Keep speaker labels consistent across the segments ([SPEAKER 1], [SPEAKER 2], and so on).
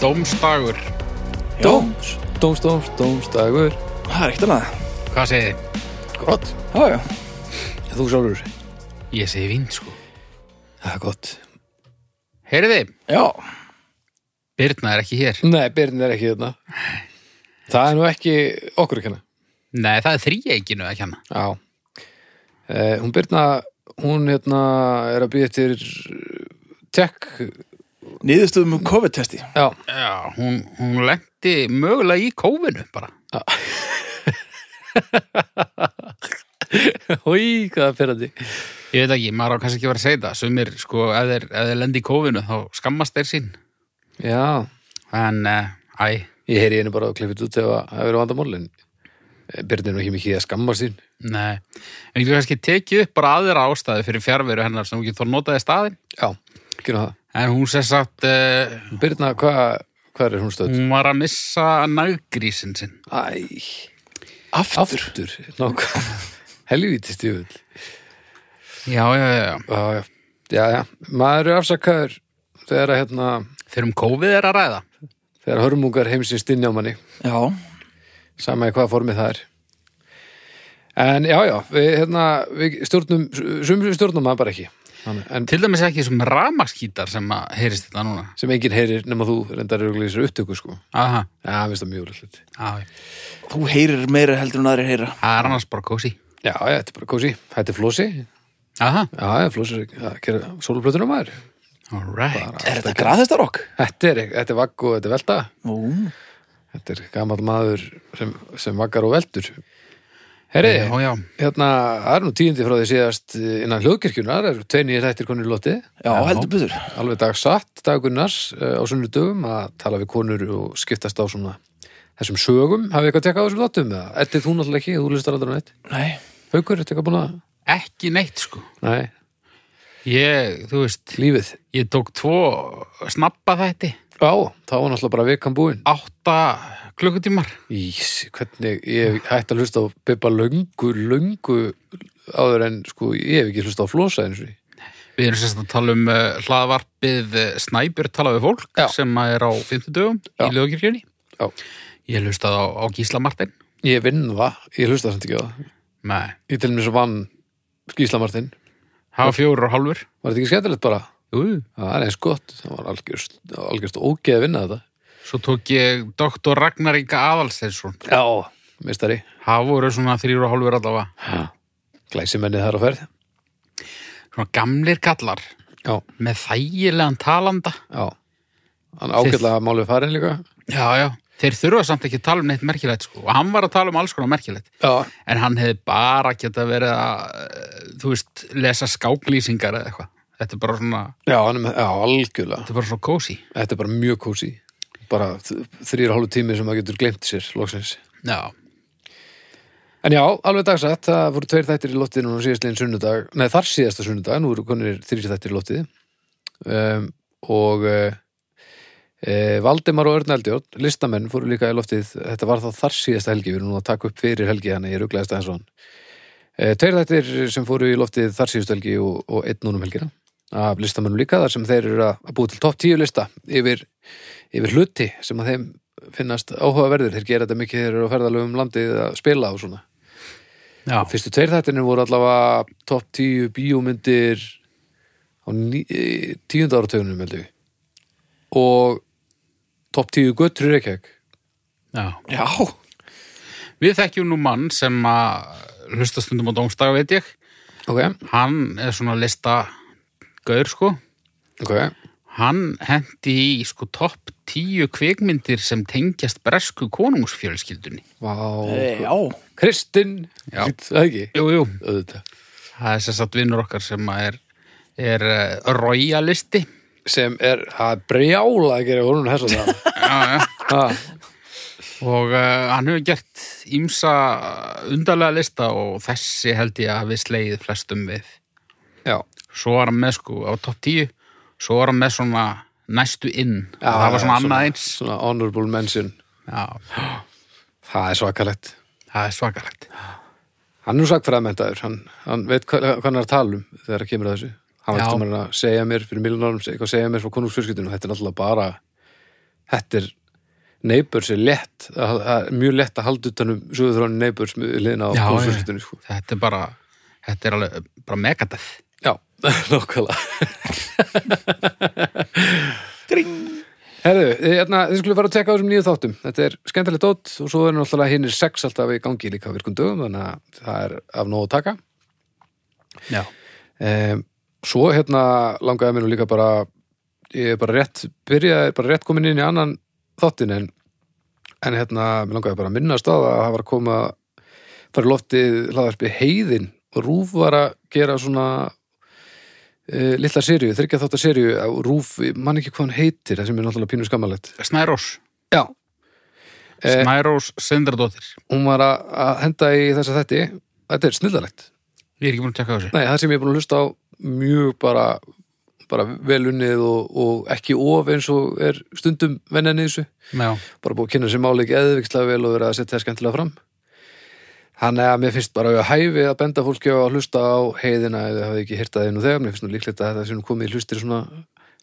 [SPEAKER 1] Dómstagur,
[SPEAKER 2] Dóms
[SPEAKER 3] Dóms, dóms, dómstagur
[SPEAKER 2] Það er ekkert annað
[SPEAKER 1] hvað segið þið?
[SPEAKER 3] Gott
[SPEAKER 2] Já, já
[SPEAKER 3] Þú sjálfur
[SPEAKER 1] Ég segi vind sko
[SPEAKER 3] Það er gott
[SPEAKER 1] Heyriði,
[SPEAKER 2] Já,
[SPEAKER 1] Birna er ekki hér
[SPEAKER 3] Nei, Byrn er ekki þarna Það er nú ekki okkur ekki hana
[SPEAKER 1] Nei, það er þríeikinu ekki hana
[SPEAKER 3] Já eh, Hún Byrna, hún hérna er að býja eftir tech
[SPEAKER 2] niðurstöðum um COVID-testi
[SPEAKER 3] Já,
[SPEAKER 1] Já, hún, hún lendi mögulega í kófinu bara
[SPEAKER 3] hói, hvað fyrir því
[SPEAKER 1] Ég veit ekki, maður á kannski ekki að vera að segja það Sumir, sko, ef þeir, ef þeir lendi í kófinu þá skammast þeir sín
[SPEAKER 3] Já,
[SPEAKER 1] En, uh, æ,
[SPEAKER 3] ég heyri henni bara að klippið út ef að það verið vandamálin Byrn eh, er nú ekki mikið að skamma sín
[SPEAKER 1] nei En ég kannski tekið upp bara aðra ástæði fyrir fjárveru hennar sem hún getur þá notaði staðin
[SPEAKER 3] Já, gera það
[SPEAKER 1] En hún sér sagt, uh,
[SPEAKER 3] Byrna, hvað hva er hún stöð?
[SPEAKER 1] hún var að missa naggrísin sinn
[SPEAKER 3] Æ,
[SPEAKER 2] Mm. Aftur,
[SPEAKER 3] aftur Nákvæm, helvítist ég vil
[SPEAKER 1] Já, já, já, já
[SPEAKER 3] Já, já, já, já. maður er afsakaður þegar að hérna
[SPEAKER 1] Þegar um kófið er að ræða
[SPEAKER 3] þegar hörmungar heimsins dinja á manni
[SPEAKER 2] Já,
[SPEAKER 3] sama í hvaða formi það er en já, já, við, hérna, við stjórnum, sum stjórnum maður bara ekki Þannig- en
[SPEAKER 1] Til dæmis ekki þessum ramaskítar sem að heyrist þetta núna.
[SPEAKER 3] sem enginn heyrir nema þú reyndar eru þessar upptöku sko
[SPEAKER 1] Aha,
[SPEAKER 3] já, mér finnst það mjög úrlega
[SPEAKER 1] já, já.
[SPEAKER 2] þú heyrir meira heldur en aðrir heyra
[SPEAKER 1] það er annars bara kósi.
[SPEAKER 3] já, já, þetta er bara kósi, þetta er flósi já,
[SPEAKER 1] Aha,
[SPEAKER 3] já, flósi, er- það gera sóluplötunum maður
[SPEAKER 1] all right.
[SPEAKER 2] Er þetta graðistarokk?
[SPEAKER 3] þetta er, þetta er vagg og þetta er velta
[SPEAKER 2] Ú,
[SPEAKER 3] þetta er gamall maður sem, sem vaggar og veldur herriði,
[SPEAKER 1] Já, já,
[SPEAKER 3] Hérna, það er nú tíundi frá því síðast innan hljóðkirkjunar, það eru tveinir þættir konur í loti,
[SPEAKER 2] já, heldur betur
[SPEAKER 3] alveg dag satt dagunnars eh, á sunnudöfum að tala við konur og skiptast á svona þessum sögum, hafið eitthvað tekað á þessum þáttum eða, Eddi þú náttúrulega ekki, þú listar aldrei neitt
[SPEAKER 2] Nei,
[SPEAKER 3] Haukur, ertu eitthvað búin að,
[SPEAKER 1] ekki neitt sko.
[SPEAKER 3] nei,
[SPEAKER 1] Ég, þú veist,
[SPEAKER 3] lífið
[SPEAKER 1] ég tók tvo snappa þætti,
[SPEAKER 3] Já, þá var náttúrulega bara vikan búin
[SPEAKER 1] átta klukkutímar.
[SPEAKER 3] Ís, hvernig, ég hætti að hlusta á Bibba löngu, löngu áður en, sko, ég hef ekki hlusta á Flosa eins og ég.
[SPEAKER 1] Við erum sérst að tala um uh, hlaðvarpið uh, Snæbjör tala við fólk
[SPEAKER 3] Já.
[SPEAKER 1] sem að er á 50 dögum
[SPEAKER 3] Já.
[SPEAKER 1] í lögkirkjunni.
[SPEAKER 3] Já.
[SPEAKER 1] Ég hlustaði á, á Gísla Martin.
[SPEAKER 3] Ég vinn það, ég hlusta samt ekki á það
[SPEAKER 1] Nei,
[SPEAKER 3] Ég til mér svo vann Gíslamartin
[SPEAKER 1] hafa fjóru og hálfur.
[SPEAKER 3] Var þetta ekki skemmtilegt bara?
[SPEAKER 1] Jú, jú.
[SPEAKER 3] Það er eins gott, það var algjörst, algjörst ógeð að vinna þetta.
[SPEAKER 1] Svo tók ég doktor Ragnar Inga Aðalsteinsson.
[SPEAKER 3] Já. Mistari,
[SPEAKER 1] Það voru svona þrýr og hálfur allavega.
[SPEAKER 3] glæsimennið þar á ferð.
[SPEAKER 1] Svona gamlir kallar
[SPEAKER 3] Já,
[SPEAKER 1] með þægilegan talanda.
[SPEAKER 3] já. Hann ágætlega málið farin líka.
[SPEAKER 1] Já, já. Þeir þurfa samt ekki að tala um neitt merkilegt sko. Og hann var að tala um alls konar merkilegt.
[SPEAKER 3] Já,
[SPEAKER 1] En hann hefði bara geta verið að, eh, þú veist, lesa skáklýsingar eða eitthvað. Þetta er bara svona,
[SPEAKER 3] já, hann er með, já, algjörlega.
[SPEAKER 1] þetta er bara svona kósi.
[SPEAKER 3] Þetta er bara mjög kósi. Bara þrýra hálfu tími sem maður getur glemt sér, loksins.
[SPEAKER 1] Já,
[SPEAKER 3] En já, alveg dagsætt, það voru tveir þættir í lottið núna síðastlegin sunnudag, nei þar síðasta sunnudag, nú eru konir þrýr þættir í lottið um, og e, Valdimar og Örn Eldjórn, listamenn, fóru líka í loftið, þetta var þá þar síðasta helgi, við erum nú að taka upp fyrir helgi, þannig ég ruglaðist aðeins hann. E, tveir þættir sem fóru í loftið þar síðasta helgi og, og einn núna um helgina af listamennum líka, þar sem þeir eru að- að búa til topp 10 lista yfir, yfir hluti sem að þeim finnast áhugaverðir, þeir gera þetta mikið þegar þeir eru að ferðalög um landið að spila og svona
[SPEAKER 1] já,
[SPEAKER 3] Fyrstu tveir þættinir voru allavega topp 10 bíómyndir á ní, eh, tíunda áratögunum heldur við. og topp 10 göttur í Reykjavík
[SPEAKER 1] já.
[SPEAKER 2] Já,
[SPEAKER 1] Við þekkjum nú mann sem að hlusta stundum á dómstag, veit ég.
[SPEAKER 3] ok,
[SPEAKER 1] Hann er svona lista gaur, sko.
[SPEAKER 3] ok
[SPEAKER 1] Hann hendi í sko topp tíu kvikmyndir sem tengjast bresku konungsfjölskyldunni.
[SPEAKER 3] Vá,
[SPEAKER 2] já
[SPEAKER 3] Kristinn
[SPEAKER 1] Já.
[SPEAKER 3] Lít- það ekki,
[SPEAKER 1] Jú, jú.
[SPEAKER 3] auðvitað
[SPEAKER 1] Það er sess að vinnur okkar sem að er, er uh, royalisti.
[SPEAKER 3] sem er að brjála að gera honum þess að það
[SPEAKER 1] Já, já.
[SPEAKER 3] Ha,
[SPEAKER 1] Og uh, hann hefur gert ímsa undarlega lista og þessi held ég að hafi slegið flestum við.
[SPEAKER 3] já,
[SPEAKER 1] Svo var hann með sko á topp tíu, svo var hann með svona næstu inn.
[SPEAKER 3] Já,
[SPEAKER 1] það var
[SPEAKER 3] já,
[SPEAKER 1] svona annað
[SPEAKER 3] svona-
[SPEAKER 1] eins.
[SPEAKER 3] svona honorable mention
[SPEAKER 1] Já,
[SPEAKER 3] það er svakalegt
[SPEAKER 1] það er svakalegt.
[SPEAKER 3] hann er nú sakfræðamentaður, hann, hann veit hvað, hvað hann er að tala um þegar að kemur að þessu hann
[SPEAKER 1] Já.
[SPEAKER 3] veit um að segja mér fyrir miljonárum, eitthvað að segja mér frá konungsfjörskiptinu og þetta er náttúrulega bara þetta er Neighbors er lett að, að, mjög lett að halda utanum sögurþrónin Neighbors liðin á
[SPEAKER 1] Já, já.
[SPEAKER 3] kúlsvöldinu sko.
[SPEAKER 1] Þetta er bara, þetta er alveg bara megadeth.
[SPEAKER 3] já, nákvæmlega
[SPEAKER 2] Gring.
[SPEAKER 3] Herðu, hérna, þið skulum fara að tekka á þessum nýju þáttum. Þetta er skemmtilegt dótt og svo er náttúrulega hinnir sex alltaf í gangi líka á virkum dögum, þannig að það er af nóg að taka.
[SPEAKER 1] Já.
[SPEAKER 3] Um, svo hérna langaði mér nú líka bara, ég er bara rétt, byrjaði bara rétt komin inn í annan þáttin en, en hérna, mér langaði bara að minna að staða að það var að koma, fara í loftið hlaðarpi heiðin og rúf var að gera svona uh, litla seríu, þryggja þáttar seríu, rúf, mann ekki hvað hann heitir, það sem er náttúrulega pínu skammalegt.
[SPEAKER 1] Snærós.
[SPEAKER 3] Já, Eh.
[SPEAKER 1] Snærós Sindradóttir.
[SPEAKER 3] hún var að að henda í þessa þetti þetta er snillalegt
[SPEAKER 1] Ég er ekki búin að tekka á þessu.
[SPEAKER 3] Nei, það sem ég er búin að hlusta á mjög bara, bara velunnið og, og ekki of eins og er stundum vennið þessu
[SPEAKER 1] Já.
[SPEAKER 3] bara búið að kynna sér máli ekki eðvikslega vel og verið að setja það skemmtilega fram Þannig að mér finnst bara að hæfi að benda fólki á að hlusta á heiðina ef þið hafið ekki hýrtað einu þegar, mér finnst nú líklegt að þetta sem komið í hlustir svona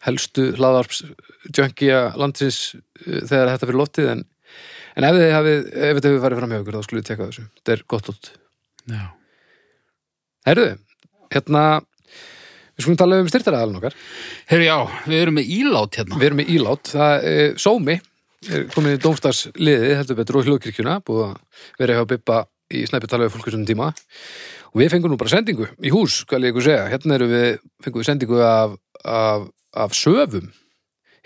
[SPEAKER 3] helstu hlaðvarps djöngja landsins uh, þegar þetta fyrir loftið en, en ef þið hafið, ef þetta hefur farið fram hjá ykkur þá skulle við teka þessu, þetta er gott lótt
[SPEAKER 1] Já.
[SPEAKER 3] Herðu, hérna við skulum tala um styrtaraðalinn okkar
[SPEAKER 1] Herru, já, við erum með ílát hérna.
[SPEAKER 3] Við erum með ílát, það er sómi er komin í dómstarsliði, heldur betur og hljóðkirkjuna, búið að vera hjá Bibba í snæpi tala við fólk þessum tíma og við fengum nú bara sendingu í hús, hvað ég ykkur segja, hérna erum við fengum við sendingu af, af, af söfum,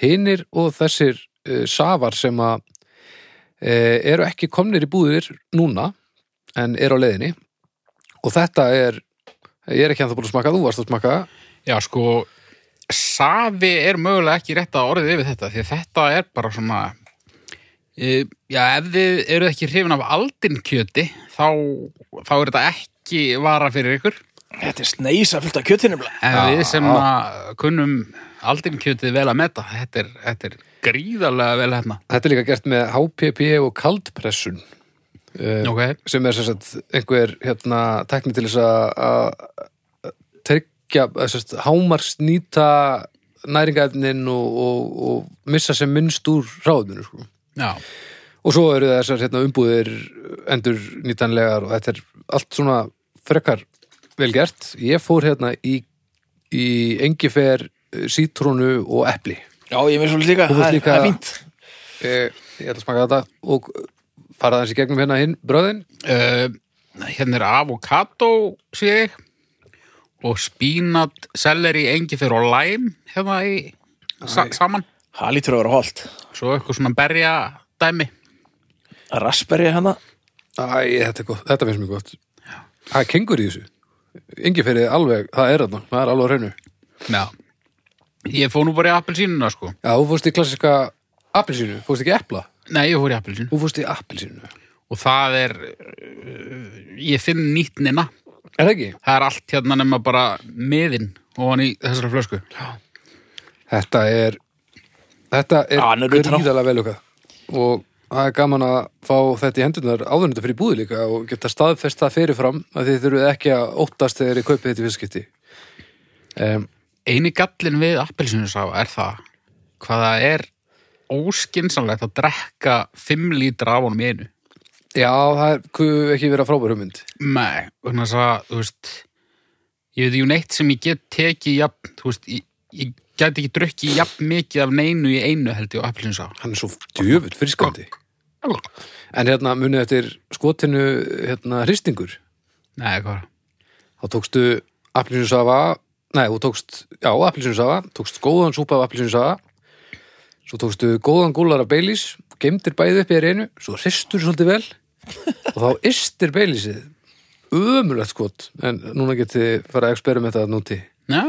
[SPEAKER 3] hinir og þessir uh, safar sem að uh, eru ekki komnir í búðir núna en eru á leiðinni og þetta er ég er ekki hann það búin að smakka, þú varst að smakka
[SPEAKER 1] Já, sko, safi er mögulega ekki rétt að orðið yfir þetta, því að þetta er bara svona, e, já, ef þið eruð ekki hrifin af aldinkjöti, þá, þá er þetta ekki vara fyrir ykkur.
[SPEAKER 2] Þetta er sneisa fullt af kjötinu
[SPEAKER 1] En
[SPEAKER 3] Já.
[SPEAKER 1] við sem að kunnum aldinkjötið vel að meta, þetta er, þetta er gríðarlega vel hérna.
[SPEAKER 3] Þetta er líka gert með HPP og kaldpressun uh,
[SPEAKER 1] Ok,
[SPEAKER 3] sem er sem sagt einhver hérna, tekni til þess að- að tryggja hámarsnýta næringaefnin og, og, og missa sem minnst úr ráðinu sko.
[SPEAKER 1] já,
[SPEAKER 3] og svo eru þessar hérna, umbúðir endur nýtanlegar og þetta er allt svona frekar vel gert ég fór hérna í, í engifer, sítrónu og epli
[SPEAKER 2] Já, ég með svolítið líka,
[SPEAKER 3] Þú veist
[SPEAKER 2] það er,
[SPEAKER 3] líka-
[SPEAKER 2] það er fínt
[SPEAKER 3] ég, ég ætla að smaka þetta og fara þessi gegnum hérna hinn bröðin
[SPEAKER 1] uh, hérna er avokado, sé ég, og spínat, selleri, engifer og læm hérna í sa saman.
[SPEAKER 2] Það lítur að vera holt
[SPEAKER 1] Svo eitthvað svona berja dæmi.
[SPEAKER 2] Raspberry hérna. hana
[SPEAKER 3] Æ, þetta, er gott, þetta finnst mér gott það er kengur í þessu engi fyrir alveg, það er þarna, það er alveg á hreinu
[SPEAKER 1] Já. Ég fór nú bara í appelsínuna, sko.
[SPEAKER 3] já, þú fórst í klassiska appelsínu, fórst ekki epla
[SPEAKER 1] Nei, ég fór í appelsínu.
[SPEAKER 3] þú fórst í appelsínu,
[SPEAKER 1] Og það er, uh, ég finn nýtt nýttnina.
[SPEAKER 3] er það ekki?
[SPEAKER 1] Það er allt hérna nema bara miðin ofan í þessari flösku.
[SPEAKER 3] þetta er þetta er
[SPEAKER 2] Já, hann er utan á.
[SPEAKER 3] gríðalega vel okkar og það er gaman að fá þetta í hendunar áðurnþetta fyrir búið líka og geta staðfest það fyrirfram að þið þurfið ekki að óttast þegar þið kaupið þetta í fyrstskipti um,
[SPEAKER 1] Eini gallin við appelsínu er það hvað það er óskinsamlegt að drekka 5 lítra af honum í einu.
[SPEAKER 3] Já, það er kuð ekki vera frábær hugmynd
[SPEAKER 1] Nei, þannig að það, þú veist, ég veit ekki um neitt sem ég get tekið jafn, þú veist, ég, ég get ekki drukkið jafn mikið af neinu í einu held ég á appelsínu
[SPEAKER 3] Hann er svo djöfull friskandi En hérna munið eftir skotinu hérna hristingur
[SPEAKER 1] Nei, hvað?
[SPEAKER 3] Þá tókstu appelsinsafa Nei, þú tókst, já, appelsinsafa Tókst góðan súpa af appelsinsafa Svo tókstu góðan gúlar af beilis Gemdir bæði upp í þér einu Svo hristur svolítið vel Og þá ystir beilisið Ömulegt skot En núna getið fara að experimenta að núti
[SPEAKER 1] Já,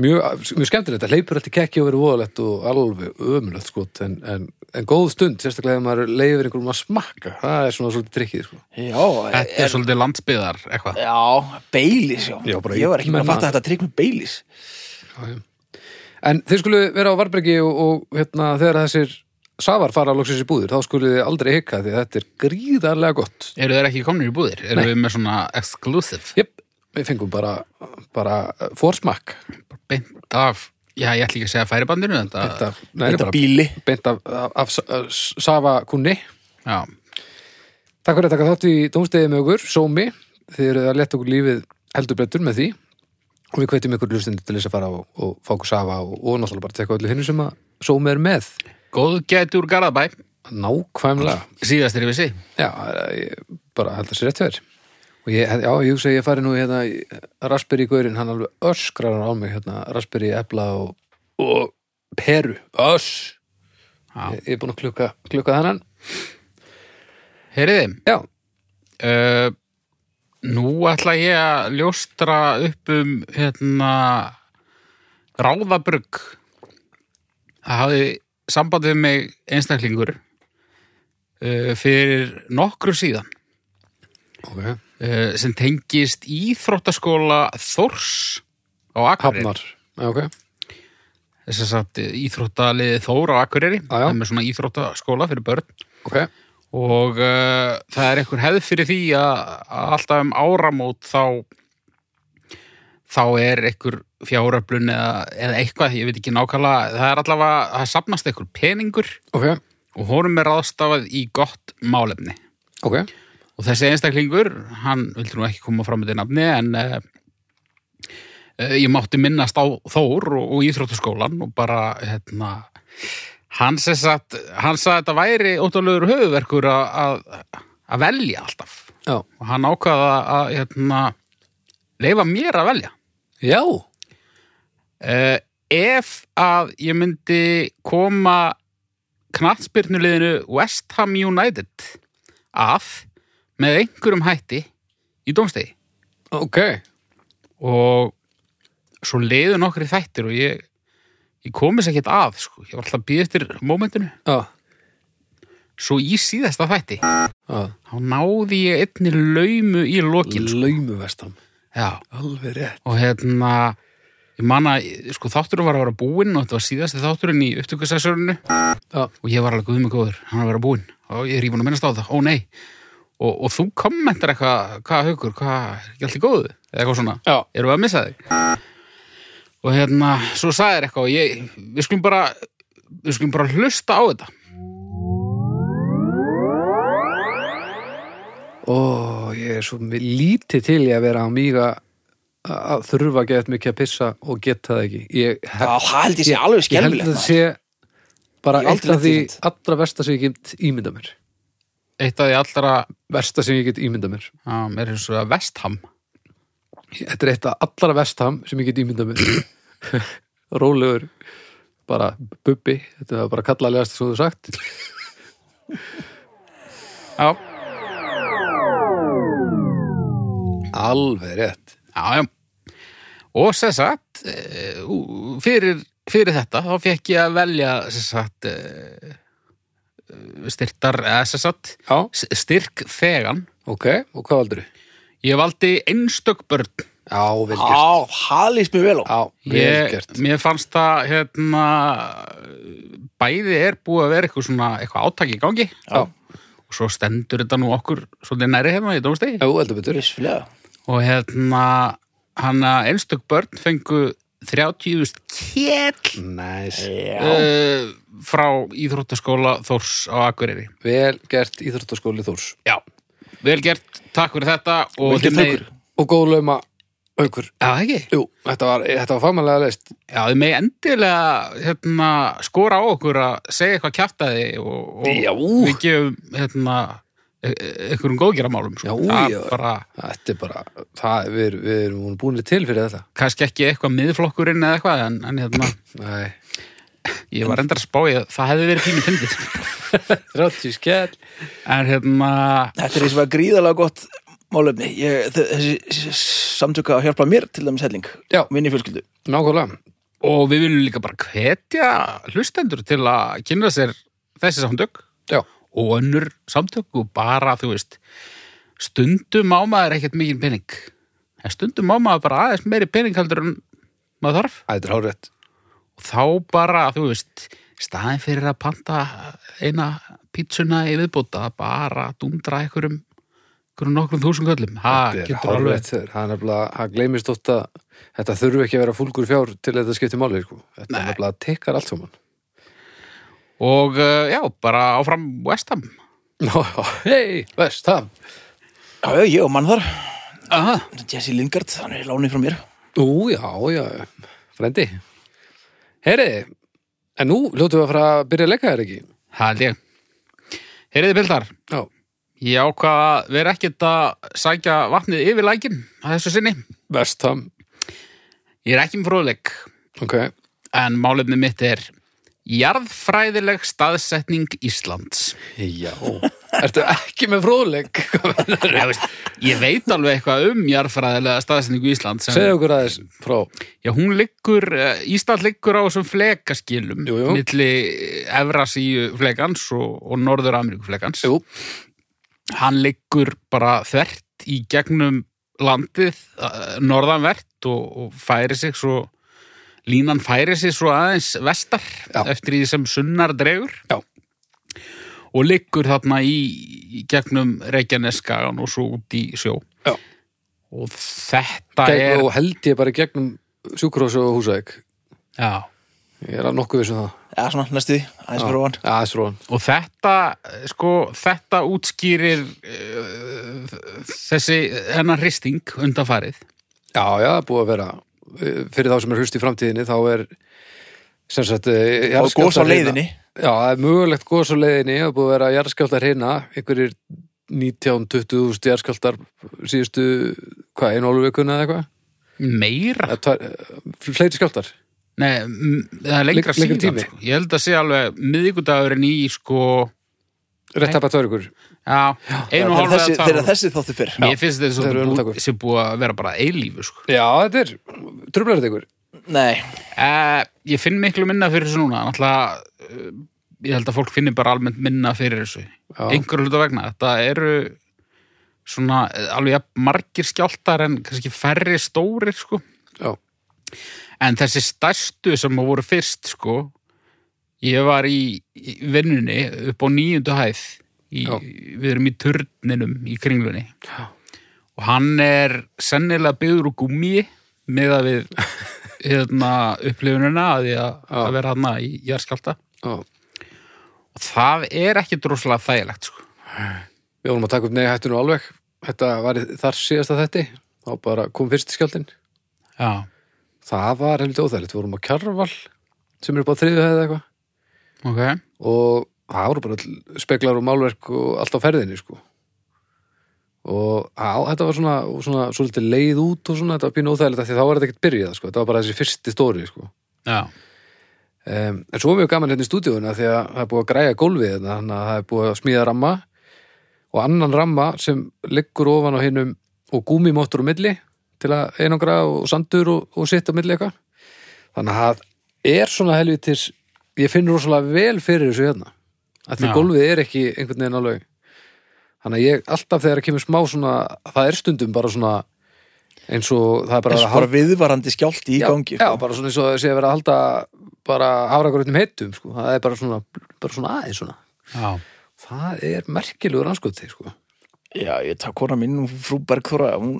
[SPEAKER 3] mjög, mjög skemmtilegt, það leipur alltaf kekki og verið voðalegt og alveg ömulegt sko, en, en, en góð stund, sérstaklega ef maður leifir einhverjum að smakka, það er svona svolítið trikkið sko.
[SPEAKER 2] Já, e-
[SPEAKER 1] þetta er svolítið landsbyðar eitthvað.
[SPEAKER 2] Já, Baileys, já,
[SPEAKER 3] Já, bara
[SPEAKER 2] Ég var ekki með að
[SPEAKER 3] menna-
[SPEAKER 2] fatta þetta trikk með Baileys
[SPEAKER 3] en þið skulu vera á Varbergi og, og hérna, þegar þessir safar fara að loksins í búður, þá skulu þið aldrei hika því að þetta er gríðarlega gott
[SPEAKER 1] Eru þeir ekki komnir í búðir? Eru
[SPEAKER 3] Nei.
[SPEAKER 1] við með svona exclusive,
[SPEAKER 3] uh, Jep, við fengum bara, bara fórsmakk
[SPEAKER 1] beint af já, ég ætla ekki að segja færibandinu þetta,
[SPEAKER 3] Beint af, nei,
[SPEAKER 2] Þetta
[SPEAKER 3] bara
[SPEAKER 2] bíli
[SPEAKER 3] beint af, af, af, af Sava Kunni.
[SPEAKER 1] já,
[SPEAKER 3] Takk fyrir að taka þátt í dómstegið með okkur, Sómi. Þið eruð að leta okkur lífið heldur betur með því. Og við hvetjum ykkur hlustinu til þess að fara og, og fá okkur Sava og, og náttúrulega bara teka öllu hinn sem að Sómi er með.
[SPEAKER 1] góðgæti úr Garðabæ
[SPEAKER 3] Nákvæmlega.
[SPEAKER 1] síðastir í vissi
[SPEAKER 3] Já, ég bara held að sér rétt verið. Og ég, já, ég hugsa að ég fari nú hérna í- Raspberry Gaurinn, hann alveg öskrar á mig hérna, Raspberry, Epla og, og Peru, öss.
[SPEAKER 1] Já.
[SPEAKER 3] Ég, ég er búin að klukka, klukka þennan.
[SPEAKER 1] heyriði,
[SPEAKER 3] Já,
[SPEAKER 1] uh, nú ætla ég að ljóstra upp um hérna ráðabrugg það hafði samband við mig einstaklingur uh, fyrir nokkru síðan
[SPEAKER 3] ok,
[SPEAKER 1] uh, sem tengist íþróttaskóla Þors á Akureyri
[SPEAKER 3] hafnar. Já, ok,
[SPEAKER 1] þess að sagt íþróttaliði Þór á Akureyri
[SPEAKER 3] já.
[SPEAKER 1] það er með svona íþróttaskóla fyrir börn
[SPEAKER 3] ok,
[SPEAKER 1] og uh, það er einhver hefð fyrir því að, að alltaf um áramót þá þá er einhver fjáröflun eða, eða eitthvað, ég veit ekki nákvæmlega það er allavega, það sapnast einhver peningur
[SPEAKER 3] ok,
[SPEAKER 1] og honum er ráðstafað í gott málefni
[SPEAKER 3] ok,
[SPEAKER 1] og þessi einstaklingur, hann vildur nú ekki koma fram með þetta nafni en uh, ég mátti minnast á Þór og, og Íþróttaskólan og bara hérna hann sem sagt, hann sagði að þetta væri óttalögur höfuverkur að að velja alltaf
[SPEAKER 3] já,
[SPEAKER 1] og hann ákvaða að hérna, leifa mér að velja
[SPEAKER 3] já,
[SPEAKER 1] uh, ef að ég myndi koma knattspyrnuleginu West Ham United að með einhverjum hætti í dómstegi
[SPEAKER 3] ok,
[SPEAKER 1] og svo leiðu nokkri þættir og ég, ég komis ekkert að sko. ég var alltaf að býða eftir mómentinu
[SPEAKER 3] já,
[SPEAKER 1] svo í síðasta þætti
[SPEAKER 3] já,
[SPEAKER 1] þá náði ég einni laumu í lokin sko.
[SPEAKER 3] laumu vestam,
[SPEAKER 1] Já,
[SPEAKER 3] alveg rétt,
[SPEAKER 1] og hérna ég man að sko, þátturinn var að vera búinn og þetta var síðasti þátturinn í upptökusessurinu
[SPEAKER 3] já,
[SPEAKER 1] og ég var alveg guðmið góður, hann var að vera búinn og ég er íbúin að minnast á það, ó nei og, og þú kommentar eitthvað, hvað haukur hvað, er ekki allt í góðu, eða eitthvað svona
[SPEAKER 3] já,
[SPEAKER 1] erum við að missa þig og hérna, svo sagði þér eitthvað og ég, við skulum bara við skulum bara hlusta á þetta
[SPEAKER 3] Ó, ég er svo mi- lítið til ég að vera á mýga að þurfa að geta mikið að pissa og geta það ekki. Ég,
[SPEAKER 2] Já,
[SPEAKER 3] hef,
[SPEAKER 2] það held ég sé
[SPEAKER 3] ég
[SPEAKER 2] alveg
[SPEAKER 3] held að
[SPEAKER 2] skelfilegt
[SPEAKER 3] það sé bara
[SPEAKER 2] Ég hef
[SPEAKER 3] eitt
[SPEAKER 2] aldrei
[SPEAKER 3] af því
[SPEAKER 2] lent í
[SPEAKER 3] allra versta sem ég get ímynda mér.
[SPEAKER 1] eitt af því allra,
[SPEAKER 3] Versta sem ég get ímynda mér.
[SPEAKER 1] um, er eins og að vestham
[SPEAKER 3] Þetta er eitt af allra vestam sem ég get ímynda mér. Rólegur, bara bubbi, þetta er bara kallalegast sem þú hefur sagt.
[SPEAKER 1] já,
[SPEAKER 3] Alveg rétt.
[SPEAKER 1] já, já og sem sagt eh, ú- fyrir, fyrir þetta þá fekk ég að velja sem sagt eh, styrtar, eða sem sagt
[SPEAKER 3] Já,
[SPEAKER 1] s- styrk þegan
[SPEAKER 3] ok, og hvað valdur þau?
[SPEAKER 1] ég valdi einstök börn
[SPEAKER 3] Já, vel gert.
[SPEAKER 2] Já, það líst mér vel á
[SPEAKER 3] Já, vel
[SPEAKER 1] Ég,
[SPEAKER 3] gert.
[SPEAKER 1] mér fannst það hérna, bæði er búið að vera eitthvað, svona, eitthvað átak í gangi
[SPEAKER 2] Já.
[SPEAKER 1] og svo stendur þetta nú okkur svolítið næri hérna í dómstegi
[SPEAKER 3] Já, heldur betur.
[SPEAKER 2] Vissulega.
[SPEAKER 1] og hérna hann að einstök börn fengu 30.000 kéll
[SPEAKER 3] Næs.
[SPEAKER 2] Já,
[SPEAKER 1] uh, frá Íþróttaskóla Þórs á Akureyri
[SPEAKER 3] Vel gert íþróttaskóli Þórs.
[SPEAKER 1] Já, vel gert, takk fyrir þetta og
[SPEAKER 2] Vel gert,
[SPEAKER 1] þið megið-
[SPEAKER 2] Haukur.
[SPEAKER 3] og góð lauma aukur.
[SPEAKER 1] Já, það ekki
[SPEAKER 3] Jú, þetta var, þetta var fagmannlega leist.
[SPEAKER 1] Já, þið með endilega hérna, skora á okkur að segja eitthvað kjaftaði og,
[SPEAKER 2] Já.
[SPEAKER 1] og við gefum hérna, e- e- einhverjum góðgeramálum sko.
[SPEAKER 3] Já,
[SPEAKER 1] Það
[SPEAKER 3] já.
[SPEAKER 1] bara,
[SPEAKER 3] Þetta er bara, það, við, erum- við erum búinir til fyrir þetta.
[SPEAKER 1] kannski ekki eitthvað miðflokkurinn eða eitthvað en, en hérna,
[SPEAKER 3] Nei.
[SPEAKER 1] ég var endar að spá ég að það hefði verið pínu fyndið
[SPEAKER 3] Rátti skell.
[SPEAKER 1] en hérna,
[SPEAKER 2] þetta er eins og var gríðalega gott málefni ég, þ- Þessi samtöka að hjálpa mér til dæmis helling
[SPEAKER 3] Já.
[SPEAKER 2] Minni fjölskyldu
[SPEAKER 3] Nákvæmlega.
[SPEAKER 1] og við viljum líka bara hvetja hlustendur til að kynna sér þessi samtök
[SPEAKER 3] Já.
[SPEAKER 1] og önnur samtök og bara, þú veist stundum á maður ekkert mikið pening en stundum á maður bara aðeins meiri pening heldur en maður þarf
[SPEAKER 3] Æ, Þetta er hárétt.
[SPEAKER 1] og þá bara, þú veist staðin fyrir að panta eina pítsuna í viðbóta bara dundra einhverjum einhverjum nokkrum þúsund köllum ha,
[SPEAKER 3] Þetta er
[SPEAKER 1] getur alveg
[SPEAKER 3] hárrétt. Það er nefnilega, hann gleymist ótt að þetta þurfi ekki að vera fúlgur fjár til þetta skipti máli, sko. Þetta
[SPEAKER 1] Nei.
[SPEAKER 3] er nefnilega að tekkar allt saman.
[SPEAKER 1] og uh, já, bara áfram Westham
[SPEAKER 3] Ná, hei, veist, það.
[SPEAKER 2] Já, já, ég og mann þar
[SPEAKER 1] Aha.
[SPEAKER 2] Jesse Lingard, hann er lánið frá mér
[SPEAKER 3] Ú, já, já, frendi. Heyri, en nú ljótu við að fara að byrja að leika þér ekki.
[SPEAKER 1] það held ég heyriði pildar,
[SPEAKER 3] Já,
[SPEAKER 1] ég ákvað að vera ekkert að sækja vatnið yfir lækin að þessu sinni,
[SPEAKER 3] veist, það,
[SPEAKER 1] ég er ekki með fróðleik
[SPEAKER 3] ok.
[SPEAKER 1] en málefni mitt er jarðfræðileg staðsetning Íslands
[SPEAKER 3] Já. Ertu ekki með fróðleik?
[SPEAKER 1] ég, veist, ég veit alveg eitthvað um jarðfræðilega staðsetningu Íslands en-
[SPEAKER 3] Segðu okkur aðeins frá,
[SPEAKER 1] Já, hún liggur, eh, Ísland liggur á þessum flekaskilum
[SPEAKER 3] Jú, jú.
[SPEAKER 1] milli Evrasíu flekans og, og Norður Ameríku flekans
[SPEAKER 3] jú,
[SPEAKER 1] hann liggur bara þvert í gegnum landið eh, norðanvert og, og færi sig svo línan færi sig svo aðeins vestar
[SPEAKER 3] Já.
[SPEAKER 1] eftir því sem sunnar dregur
[SPEAKER 3] Já.
[SPEAKER 1] og liggur þarna í, í gegnum Reykjaneskagan og svo út í sjó
[SPEAKER 3] Já.
[SPEAKER 1] og þetta
[SPEAKER 3] gegn,
[SPEAKER 1] er
[SPEAKER 3] og held ég bara í gegnum sjúkrós og húsæk.
[SPEAKER 1] já.
[SPEAKER 3] Ég er að nokkuð vissum það.
[SPEAKER 2] Já, svona, næstu því, aðeins fyrir ofan
[SPEAKER 3] Já, aðeins frá hann.
[SPEAKER 1] Og þetta, eh, sko, þetta útskýrir uh, þessi, hennar hristing undanfarið.
[SPEAKER 3] Já, já, það er búið að vera eh, fyrir þá sem er hlust í framtíðinni þá er sem sagt eh,
[SPEAKER 2] Og gos á
[SPEAKER 3] jarðskjálftar
[SPEAKER 2] leiðinni
[SPEAKER 3] Já, það er mögulegt gos á leiðinni það er búið að vera jarðskjáltar hérna einhverjir 19-20.000 jarðskjáltar síðustu, hvað, einu álur vikuna eða eitthvað?
[SPEAKER 1] Meira?
[SPEAKER 3] Eða tvær, eh, Fleiri skjáltar?
[SPEAKER 1] Nei, m- það er lengra
[SPEAKER 3] Leng- lengri
[SPEAKER 1] síðan,
[SPEAKER 3] tími.
[SPEAKER 1] sko. Ég held að sé alveg miðvikudagurinn í, sko,
[SPEAKER 3] Rétt tapa tvær ykkur?
[SPEAKER 1] já, einu og
[SPEAKER 2] Þegar
[SPEAKER 1] hálfa
[SPEAKER 2] þessi-
[SPEAKER 1] eða
[SPEAKER 2] Þegar
[SPEAKER 3] um-
[SPEAKER 1] tvær.
[SPEAKER 2] þessi þáttu fyrr
[SPEAKER 1] Mér finnst þetta
[SPEAKER 3] þeir eru
[SPEAKER 1] svolítið
[SPEAKER 3] önnutakur.
[SPEAKER 1] búið- sé búið að vera bara eilífu, sko.
[SPEAKER 3] Já, þetta er, trublar þetta ykkur?
[SPEAKER 2] Nei,
[SPEAKER 1] Uh, ég finn miklu minna fyrir þessu núna, náttúrulega, uh, ég held að fólk finnir bara almennt minna fyrir þessu.
[SPEAKER 3] Já.
[SPEAKER 1] einhverju hluta vegna. Þetta eru svona eh, alveg jafn margir skjáltar en kannski færri stórir sko.
[SPEAKER 3] Já,
[SPEAKER 1] En þessi stærstu sem voru fyrst sko, ég var í, í vinnunni upp á nýjundu hæð. Í,
[SPEAKER 3] Já.
[SPEAKER 1] við erum í turninum í kringlunni
[SPEAKER 3] Já.
[SPEAKER 1] og hann er sennilega byggður úr gúmi með að við hérna, upplifunina að því að,
[SPEAKER 3] Já.
[SPEAKER 1] að vera hann í jarðskjálta
[SPEAKER 3] já.
[SPEAKER 1] og það er ekki droslega þægilegt sko.
[SPEAKER 3] Við vorum að taka upp ney hættu nú alveg. Þetta var í- þar síðasta þetti. Þá bara kom fyrst skjáltinn.
[SPEAKER 1] Já,
[SPEAKER 3] Það var heldur óþægilegt. Við vorum á Kjarval sem er upp á þriðu hefði eitthvað.
[SPEAKER 1] ok
[SPEAKER 3] Og það voru bara öll speklar og málverk og allt á ferðinni, sko. Og á, þetta var svona, svona svolítið leið út og svona, þetta var pínu óþægilegt af því þá var þetta ekkert byrjað, sko. Þetta var bara þessi fyrsti stóri, sko.
[SPEAKER 1] Já,
[SPEAKER 3] Um, en svo er mjög gaman hérna í stúdíuna því að það er búið að græja gólfið hérna, þannig að það er búið að smíða ramma og annan ramma sem liggur ofan á hinnum og gúmimóttur á milli til að einangra og sandur og, og sitt á milli eitthvað. Þannig að það er svona helvitis, ég finn rosalega vel fyrir þessu hérna. Að því
[SPEAKER 1] Já.
[SPEAKER 3] gólfið er ekki einhvern veginn alveg. Þannig að ég alltaf þegar kemur smá svona, það er stundum bara svona eins og það er bara
[SPEAKER 2] eins og
[SPEAKER 3] hálf-
[SPEAKER 2] bara viðvarandi skjálti í
[SPEAKER 3] já,
[SPEAKER 2] gangi
[SPEAKER 3] já,
[SPEAKER 2] sko.
[SPEAKER 3] bara svona eins og sé að vera að halda bara hafragröndum heitum sko. það er bara svona, bara svona aðeins svona.
[SPEAKER 1] já
[SPEAKER 3] það er merkilegur anskoti sko.
[SPEAKER 2] Já, ég takk kona mín, hún frú Bergþóra hún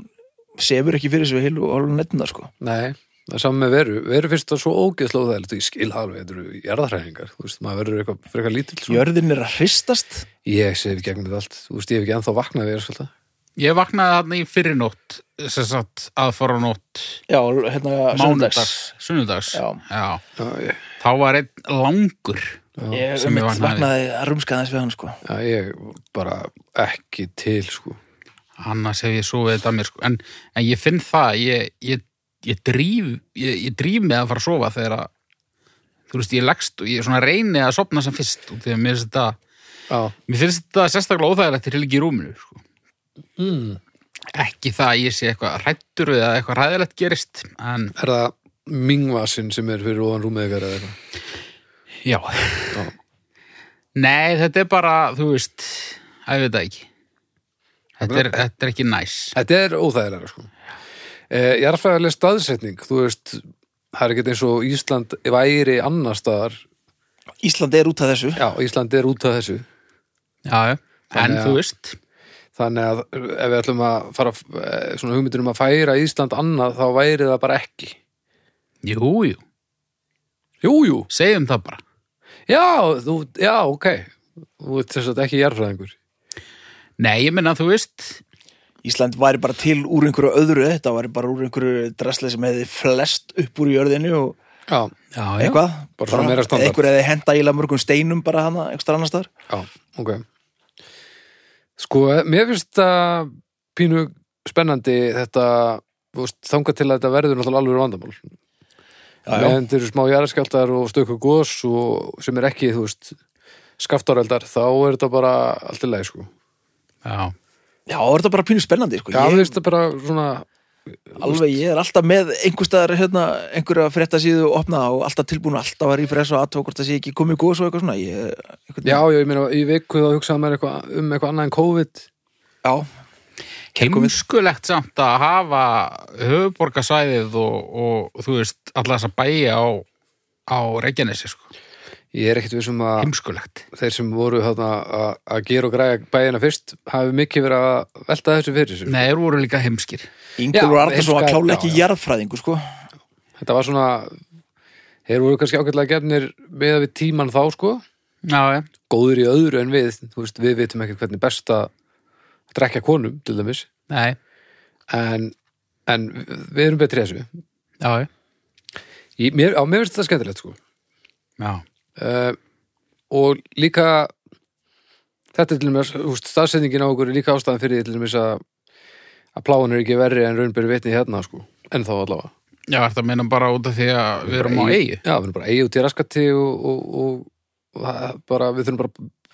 [SPEAKER 2] sefur ekki fyrir þessu heilu og hálfum netna sko.
[SPEAKER 3] nei, það er saman með veru veru fyrst það svo ógeðslega óþægilegt og ég skil það alveg, þetta eru jarðhræðingar þú veist, maður verður eitthvað frekar lítill svona.
[SPEAKER 2] Jörðin er að hristast
[SPEAKER 3] ég sef í gegnum þetta allt, þú veist, ég hef ekki ennþá vaknað við sko, þetta,
[SPEAKER 1] Ég vaknaði þarna í fyrirnótt sem sagt aðfara nótt
[SPEAKER 2] Já, hérna
[SPEAKER 1] mánudags, sunnudags
[SPEAKER 2] Já.
[SPEAKER 3] já, ég,
[SPEAKER 1] þá var einn langur
[SPEAKER 2] Ég
[SPEAKER 1] Sem ég
[SPEAKER 2] mitt
[SPEAKER 1] vaknaði.
[SPEAKER 2] vaknaði að rumskaði þess við hann sko.
[SPEAKER 3] já, ég bara ekki til, sko
[SPEAKER 1] annars hef ég sofið þetta að mér sko. en, en ég finn það ég, ég, ég dríf ég, ég dríf með að fara að sofa þegar að þú veist, ég leggst og ég svona reyni að sopna sem fyrst og því að mér finnst þetta
[SPEAKER 3] já,
[SPEAKER 1] mér finnst þetta sérstaklega óþægilegt til ekki í rúminu sko.
[SPEAKER 3] mm.
[SPEAKER 1] ekki það að ég sé eitthvað hrættur eða eitthvað hræðilegt gerist en
[SPEAKER 3] er það mingvasin sem er fyrir ofan rúmið ykkar eða eitthvað
[SPEAKER 1] Já. Nei, þetta er bara, þú veist, að ég veit það ekki. Þetta er, þetta er ekki næs.
[SPEAKER 3] Þetta er óþægilega sko. Eh, jarðfræðileg staðsetning, þú veist, það er ekkert eins og Ísland væri annar staðar,
[SPEAKER 2] Ísland er út af þessu
[SPEAKER 3] já, Ísland er út af þessu.
[SPEAKER 1] Já, já. En
[SPEAKER 3] Þannig að-
[SPEAKER 1] þú veist,
[SPEAKER 3] Þannig að ef við ætlum að fara eh, svona hugmyndunum að færa Ísland annað þá væri það bara ekki.
[SPEAKER 1] Jú, jú,
[SPEAKER 3] Jú, jú.
[SPEAKER 1] segjum það bara.
[SPEAKER 3] Já, þú, já, ok. Þú ert þess að ekki jarfræðingur.
[SPEAKER 1] Nei, ég minna, þú veist,
[SPEAKER 2] Ísland væri bara til úr einhverju öðru þetta væri bara úr einhverju drasli sem hefði flest upp úr jörðinu og
[SPEAKER 3] Já,
[SPEAKER 1] já, já.
[SPEAKER 2] eitthvað
[SPEAKER 3] Bara svona meira standard.
[SPEAKER 2] einhver hefði henda íla mörgum steinum bara hana, einhver annar staðar
[SPEAKER 3] já, ok. Sko, mér finnst það pínu spennandi þetta, þú veist, þangað til að þetta verður náttúrulega alveg vandamál.
[SPEAKER 2] já, já.
[SPEAKER 3] En þeir eru smá jarðskjaldar og stöku gos og sem er ekki, þú veist, skaftáreldar, þá er þetta bara allt í leið, sko.
[SPEAKER 1] Já,
[SPEAKER 2] já, er þetta bara pínu spennandi sko.
[SPEAKER 3] Já, ég...
[SPEAKER 2] ég,
[SPEAKER 3] veist það bara svona,
[SPEAKER 2] alveg, ég er alltaf með einhver staðar hérna, einhverja fréttasíðu opnað og alltaf tilbúin alltaf að rífresa og aðtók hvort það sé ekki komið góðs og eitthvað svona ég, einhvern,
[SPEAKER 3] já, já, ég meina, í viku þá hugsaði maður eitthva, um eitthvað annað en COVID.
[SPEAKER 2] já,
[SPEAKER 1] heimskulegt samt að hafa höfuborgarsvæðið og, og þú veist, alla þessa bæja á, á Reykjanesi, sko.
[SPEAKER 3] Ég er ekkert við sem að...
[SPEAKER 1] Heimskulegt.
[SPEAKER 3] þeir sem voru þarna að- að gera og græja bæina fyrst hafi mikið verið að velta þessu fyrir sér
[SPEAKER 1] Nei, þeir voru líka heimskir.
[SPEAKER 2] Ingolur
[SPEAKER 3] Já,
[SPEAKER 2] Arnason var
[SPEAKER 3] heimska-
[SPEAKER 2] klálega ekki
[SPEAKER 3] já, já.
[SPEAKER 2] jarðfræðingu sko.
[SPEAKER 3] þetta var svona þeir voru kannski ágætlega gefnir með við tíman þá sko
[SPEAKER 1] Já, já.
[SPEAKER 3] góður í öðru en við þú veist, við vitum ekki hvernig best að drekja konum til dæmis
[SPEAKER 1] Nei,
[SPEAKER 3] en, en við erum betri í þessu
[SPEAKER 1] já, já.
[SPEAKER 3] Ég, mér, á mér finnst þetta skemmtilegt sko
[SPEAKER 1] Já,
[SPEAKER 3] uh, og líka þetta er til dæmis húst, staðsendingin á okkur er líka ástæðan fyrir því til dæmis að að pláin er ekki verri en raunbyrði vitni hérna sko, en þá allavega
[SPEAKER 1] já þetta meina bara út af því að við erum á
[SPEAKER 3] bara
[SPEAKER 1] eigi.
[SPEAKER 3] Já, við erum bara eigi út í raskati og, og, og, og það er bara, við þurfum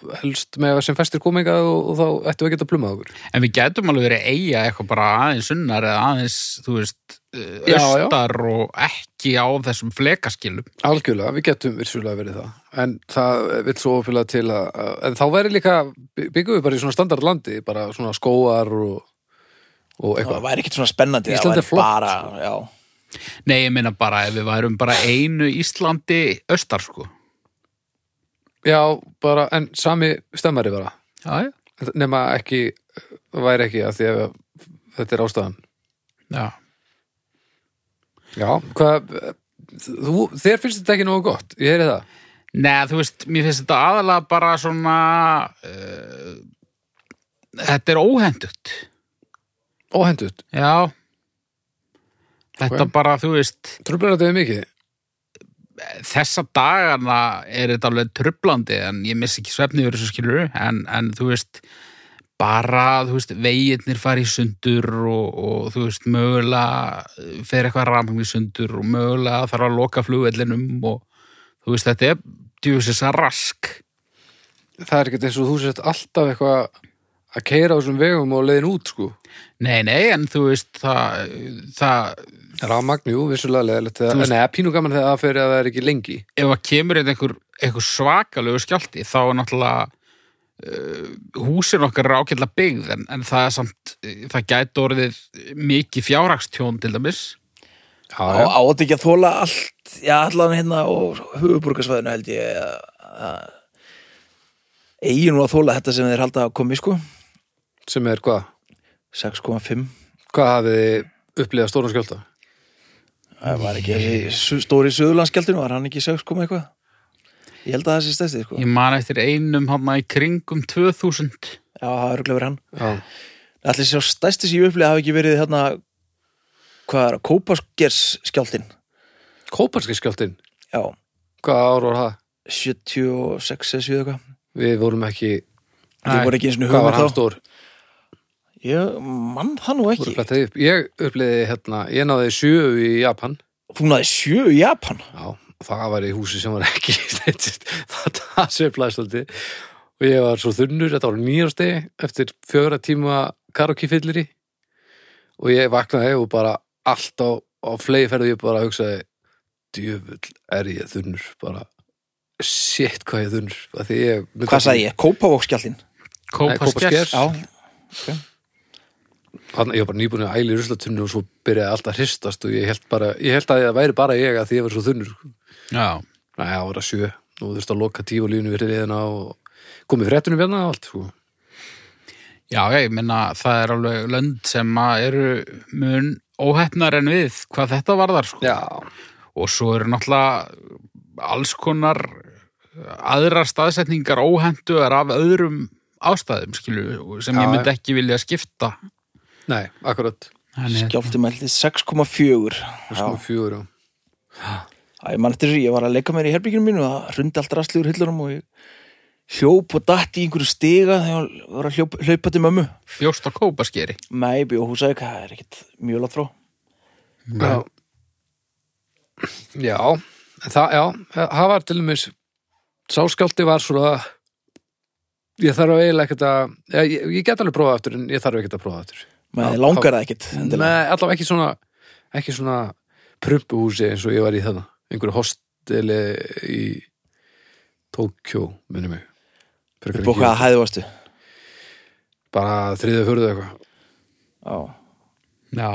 [SPEAKER 3] bara helst með sem festir kominga og, og þá ættum við að geta plumað okkur.
[SPEAKER 1] En við getum alveg verið eiga eitthvað bara aðeins sunnar eða aðeins, þú veist,
[SPEAKER 3] Já, já.
[SPEAKER 1] östar og ekki á þessum flekaskilum.
[SPEAKER 3] Algjörlega, við getum virsulega verið það. En það vil svo opilega til að, að- en þá væri líka, byggum við bara í svona standard landi, bara svona skóar og, og
[SPEAKER 2] það
[SPEAKER 3] eitthvað.
[SPEAKER 2] væri ekkert svona spennandi það
[SPEAKER 3] Ísland er
[SPEAKER 2] væri
[SPEAKER 3] flott, sko.
[SPEAKER 2] bara, já.
[SPEAKER 1] Nei, ég meina bara ef við værum bara einu Íslandi östar, sko.
[SPEAKER 3] Já, bara, en sami stemmari bara.
[SPEAKER 1] Já, já.
[SPEAKER 3] Nema ekki, væri ekki að því að þetta er ástæðan.
[SPEAKER 1] Já.
[SPEAKER 3] Já, hvað, þú, þér finnst þetta ekki nógu gott, ég heyri það.
[SPEAKER 1] Nei, þú veist, mér finnst þetta aðalega bara svona uh, Þetta er óhendut
[SPEAKER 3] Óhendut,
[SPEAKER 1] Já Þetta
[SPEAKER 3] Ok.
[SPEAKER 1] bara, þú veist
[SPEAKER 3] trublar þetta við mikið?
[SPEAKER 1] Þessa dagana er þetta alveg trublandi en ég missi ekki svefni yfir þessu skilur en, en þú veist bara, þú veist, veginnir fari í sundur og, og þú veist, mögulega eh, fer eitthvað rafmagn í sundur og mögulega þarf að loka flugvellinum og þú veist, þetta er djúfisins að rask
[SPEAKER 3] Það er ekkert eins og þú sett alltaf eitthvað að keira á þessum vegum og leiðin út, sko.
[SPEAKER 1] Nei, nei, en þú veist, það, það
[SPEAKER 3] Rafmagn, jú, vissulega leiðilegt.
[SPEAKER 1] Þú
[SPEAKER 3] Veist...
[SPEAKER 1] veist-
[SPEAKER 3] Nei, pínu gaman þegar það fyrir að það er ekki lengi.
[SPEAKER 1] ef að kemur einn einhver, einhver svakalegu skjálti, þá er náttúrulega uh, húsin okkar er ákveðla byggð, en, en það er samt, eh, það gæti orðið mikið fjárhagstjón til dæmis.
[SPEAKER 3] Já,
[SPEAKER 2] á á þetta ekki að þóla allt já, allan hérna og huguburgarsvæðinu held ég að- að eigi nú að þóla þetta sem þeir halda að komi sko
[SPEAKER 3] Sem er hvað?
[SPEAKER 2] 6,5
[SPEAKER 3] Hvað hafið þið upplifað stórum skjálta?
[SPEAKER 2] það var ekki þessi stóri söðurlandskjaldinu var hann ekki 6, koma eitthvað ég held að það sé stæsti sko
[SPEAKER 1] Ég man eftir einum hann í kringum 2000.
[SPEAKER 2] já, það er örugglega verið hann
[SPEAKER 3] Já.
[SPEAKER 2] allir sá stæsti sem ég upplið hafi ekki verið hérna hvað er, Kópaskers skjaldin
[SPEAKER 3] Kóparski skjáltin,
[SPEAKER 2] já,
[SPEAKER 3] hvað ár var það?
[SPEAKER 2] 76 eða 7 eitthvað
[SPEAKER 3] Við vorum ekki,
[SPEAKER 2] það
[SPEAKER 1] Nei,
[SPEAKER 2] voru ekki eins og
[SPEAKER 3] hvað var hann
[SPEAKER 2] hugum þá
[SPEAKER 3] stór?
[SPEAKER 2] ég mann það nú
[SPEAKER 3] Voru
[SPEAKER 2] ekki
[SPEAKER 3] plattaði upp. Ég uppliði hérna, ég náði sjö í Japan.
[SPEAKER 2] þú náði 7 í Japan
[SPEAKER 3] Já, það var í húsi sem var ekki stendist. það það sveiflaðist alltaf. Og ég var svo þunnur, þetta var nýjársti, eftir fjögra tíma karokifillir í. Og ég vaknaði og bara allt á, á flegi ferði ég bara að hugsaði, djöfull er ég þunnur, bara shit hvað ég er þunnur. Af því ég myndi
[SPEAKER 2] Hvað sagði ég? Kópavóksgjaldin?
[SPEAKER 1] Kópaskers.
[SPEAKER 3] Kópaskers. Þannig ég var bara nýbúin að æla í ruslatunni og svo byrjaði allt að hristast og ég held, bara, ég held að það væri bara ég að því ég var svo þunnur. sko.
[SPEAKER 1] Já,
[SPEAKER 3] Næja, það var að sjö. Nú þurfti að loka tíf og lífinu við liðina og komið fréttunum hérna og allt, sko.
[SPEAKER 1] Já, ég minna, það er alveg lönd sem að eru mun óhefnar en við hvað þetta varðar, sko.
[SPEAKER 3] Já,
[SPEAKER 1] Og svo eru náttúrulega alls konar aðrar staðsetningar óhenduðar af öðrum ástæðum, skilju, sem
[SPEAKER 3] Já,
[SPEAKER 1] ég myndi ekki vilja skipta.
[SPEAKER 3] nei, akkurat
[SPEAKER 1] Þannig,
[SPEAKER 2] Skjálfti mældi 6,4 Já.
[SPEAKER 3] Sko fjúur og
[SPEAKER 2] Æ, ég mann eftir þessu, ég var að leika mér í herbyggjunum mínu og það hrundi allt rastlið úr hillunum og ég hljóp og datt í einhverju stiga þegar ég var að hljóp, hlaupa til mömmu
[SPEAKER 1] bjóst á kópaskeri.
[SPEAKER 2] Nei, ég bjó á Húsavík, það er ekkert mjög látt frá
[SPEAKER 3] Já, já það, já, það var til dæmis sáskjálti var svona ég þarf eiginlega ekkert að ég, ég- ég get alveg prófað aftur en ég þarf ekkert að prófa aftur
[SPEAKER 2] Men
[SPEAKER 3] Já,
[SPEAKER 2] þið langar það ekkert endilega.
[SPEAKER 3] Nei, allavega ekki svona ekki svona prumpuhúsi eins og ég var í þarna einhverju hosteli í Tókjó, minni mig Frekar
[SPEAKER 2] Upp á
[SPEAKER 3] ekki-
[SPEAKER 2] hvaða hæðu varstu
[SPEAKER 3] bara þriðið fyrir eitthvað
[SPEAKER 2] Já,
[SPEAKER 1] Já.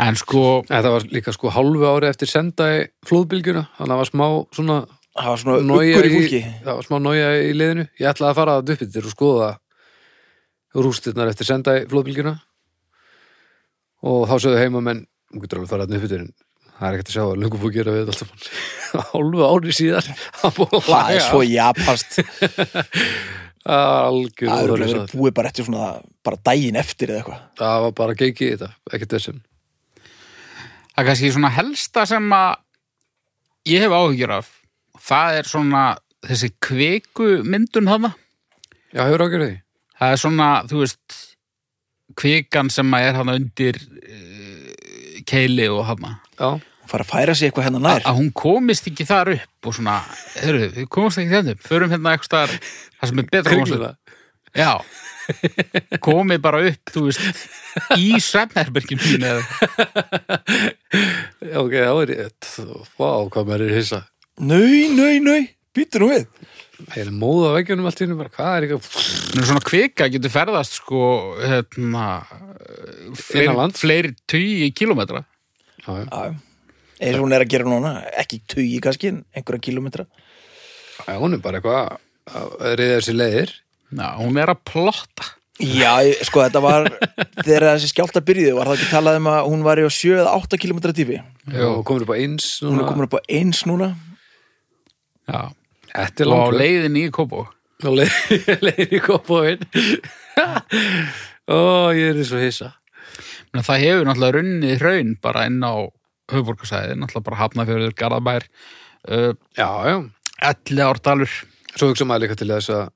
[SPEAKER 1] En sko,
[SPEAKER 3] Þetta var líka sko hálfu ári eftir senda í flóðbylgjuna, þannig að það var smá svona
[SPEAKER 2] það var svona
[SPEAKER 3] nója
[SPEAKER 2] uggur í
[SPEAKER 3] í,
[SPEAKER 2] fólki
[SPEAKER 3] það var smá nója í liðinu ég ætlaði að fara að duppið og skoða rústirnar eftir senda í flóðbylgjuna og þá sögðu heimamenn þú getur alveg að fara að duppið en það er ekkert að sjá að lungu búið að gera við þetta allt saman hálfu ári síðar það búið að
[SPEAKER 2] Það er
[SPEAKER 3] laga
[SPEAKER 2] svo japanst
[SPEAKER 3] það var algjör
[SPEAKER 2] Það er
[SPEAKER 3] óþarfi
[SPEAKER 2] verið
[SPEAKER 3] satt.
[SPEAKER 2] búið bara eftir svona bara daginn eftir eða eitthvað
[SPEAKER 3] það var bara gengið í þetta ekkert þessum
[SPEAKER 1] það er kannski svona helsta sem að ég hef áhyggjur af. Það er svona þessi kviku myndun hana.
[SPEAKER 3] já, hefur ágjör því
[SPEAKER 1] Það er svona, þú veist, kvikan sem að er hana undir uh, keili og hana.
[SPEAKER 3] já,
[SPEAKER 2] Fara að færa sig eitthvað hennar nær
[SPEAKER 1] Að hún komist ekki þar upp og svona, heyrðu, við komumst ekki þenni upp, förum hérna eitthvað staðar, það sem er betra komast upp.
[SPEAKER 3] kringluna
[SPEAKER 1] Já, komið bara upp, þú veist, í svefnherbergin mín eða,
[SPEAKER 3] Já, ok, það var rétt vá, hvað maður er hissa
[SPEAKER 2] Nei, nei, nei, býtu nú við
[SPEAKER 3] ég er móða á veggjunum allt í hennu bara hvað er ekki
[SPEAKER 1] en svona kvika getur ferðast sko, hérna, eh, fleiri,
[SPEAKER 3] Innanlands?
[SPEAKER 1] fleiri tugi kilometra.
[SPEAKER 3] já, já,
[SPEAKER 2] Já, eins og hún er að gera núna ekki tugi kannski, en einhverja kílómetra
[SPEAKER 3] já, hún er bara eitthvað að reyða sér leiðir
[SPEAKER 1] Já, hún er að plotta.
[SPEAKER 2] Já, ég- sko þetta var þegar þessi skjálta byrjuði var það ekki talað um að hún var í á 7 eða 8 km tífi
[SPEAKER 3] já, og komur upp á eins
[SPEAKER 2] hún
[SPEAKER 3] núna,
[SPEAKER 2] er komin upp á eins núna
[SPEAKER 1] Já,
[SPEAKER 3] þetta er
[SPEAKER 1] og á
[SPEAKER 3] langt
[SPEAKER 1] leiðin í Kobo.
[SPEAKER 3] og leið, leiðir í kopóin ó, ég er svo hissa
[SPEAKER 1] Men það hefur náttúrulega runnið hraun bara inn á höfuborgarsæði, náttúrulega bara hafnafjörður, garðabær, uh,
[SPEAKER 3] já, já,
[SPEAKER 1] elli árdalur.
[SPEAKER 3] svo hugsa maður líka til þess að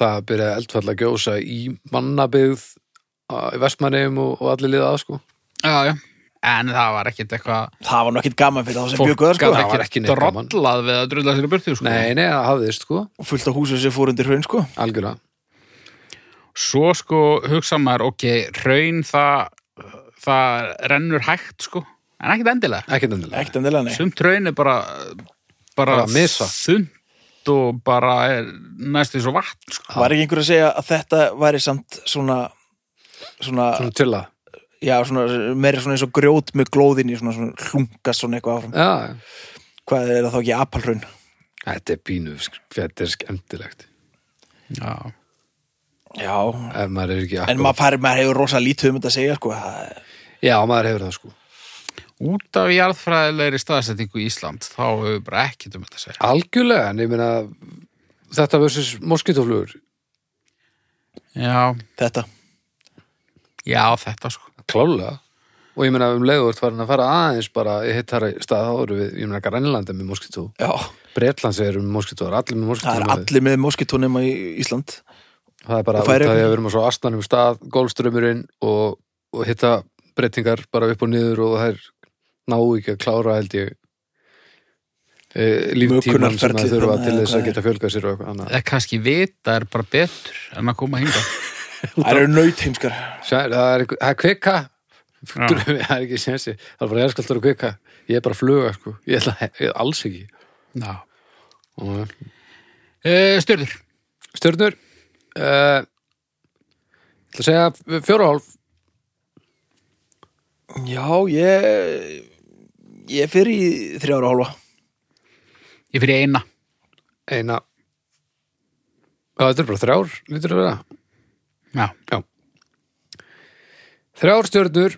[SPEAKER 3] það byrja eldfall að gjósa í mannabyggð á- í vestmannum og, og allir liða að sko
[SPEAKER 1] Já, já. En það var ekkit eitthvað,
[SPEAKER 2] það var nú ekkit gaman fyrir þá sem
[SPEAKER 1] fólk
[SPEAKER 2] bjökuðar sko
[SPEAKER 1] gat
[SPEAKER 3] það var ekki
[SPEAKER 1] ekkit
[SPEAKER 3] neitt gaman.
[SPEAKER 1] drollað við að drulla sér í burtu, sko.
[SPEAKER 3] nei, nei, það hafðist sko,
[SPEAKER 2] og fullt á húsum sem fór undir hraun sko
[SPEAKER 3] algjörlega
[SPEAKER 1] Svo sko hugsa maður, ok, hraun það, það rennur hægt, sko, en ekkit endilega.
[SPEAKER 3] ekkert endilega
[SPEAKER 2] ekkert endilega nei
[SPEAKER 1] Sumt hraun er bara, bara,
[SPEAKER 3] Bara að missa.
[SPEAKER 1] þunnt og bara er næstu svo vatn, sko.
[SPEAKER 2] var ekki einhver að segja að þetta væri samt svona svona,
[SPEAKER 3] svona til að
[SPEAKER 2] já svona meira svona eins og grjót með glóðinni svona, svona hlungast svona eitthvað áfram
[SPEAKER 3] já, já
[SPEAKER 2] hvað er það þá ekki apalhraun
[SPEAKER 3] Þetta er pínu, sk- þetta er skemmtilegt
[SPEAKER 1] Já.
[SPEAKER 2] já,
[SPEAKER 3] ef maður er ekki
[SPEAKER 2] en maður, fari, maður hefur rosa lítið um þetta að segja sko það er
[SPEAKER 3] Já, maður hefur það sko
[SPEAKER 1] Út af jarðfræðilegri staðsetningu Ísland, þá hefur við bara ekkert um þetta að segja.
[SPEAKER 3] Algjörlega, en ég meina þetta versus moskítoflugur
[SPEAKER 1] Já,
[SPEAKER 2] þetta
[SPEAKER 1] já, þetta sko.
[SPEAKER 3] klálega og ég meina um leiður farin að fara aðeins bara í hittari stað þá eru við, ég meina Grænlandi með moskító
[SPEAKER 2] Já,
[SPEAKER 3] Bretlands eru með moskítóar, allir með
[SPEAKER 2] það er
[SPEAKER 3] moskítóar
[SPEAKER 2] allir með moskitónum í Ísland
[SPEAKER 3] það er bara út
[SPEAKER 2] og
[SPEAKER 3] af
[SPEAKER 2] færi-
[SPEAKER 3] því að við erum á svo astanum stað golfströmmurinn og, og hitta breytingar bara upp og niður og það er ná ekki að klára held ég e, líftíman sem
[SPEAKER 2] Mökunarferlið
[SPEAKER 3] það þurfa
[SPEAKER 2] þarna
[SPEAKER 3] til
[SPEAKER 2] eða
[SPEAKER 3] þess
[SPEAKER 2] hvað
[SPEAKER 3] að
[SPEAKER 2] er.
[SPEAKER 3] geta fjölgað sér og eitthvað annað
[SPEAKER 1] Eða kannski vita er bara betur en að koma hinga.
[SPEAKER 2] Það eru nautheimskar
[SPEAKER 3] Sér, það er, einhver- það er kvika
[SPEAKER 1] Já.
[SPEAKER 3] það er ekki sensi það er bara erskaldur og kvika ég er bara að fluga sko ég ætla ég, er alls ekki
[SPEAKER 1] Já.
[SPEAKER 3] Og- eh,
[SPEAKER 1] Uh, Styrður,
[SPEAKER 3] stjörnur uh, ég ætla að segja fjóra og hálf
[SPEAKER 2] Já, ég ég fer í þrjára og hálfa
[SPEAKER 1] ég fyrir eina.
[SPEAKER 3] eina Já, þetta er bara þrjár lítur að vera
[SPEAKER 1] Já.
[SPEAKER 3] Þrjár stjörnur,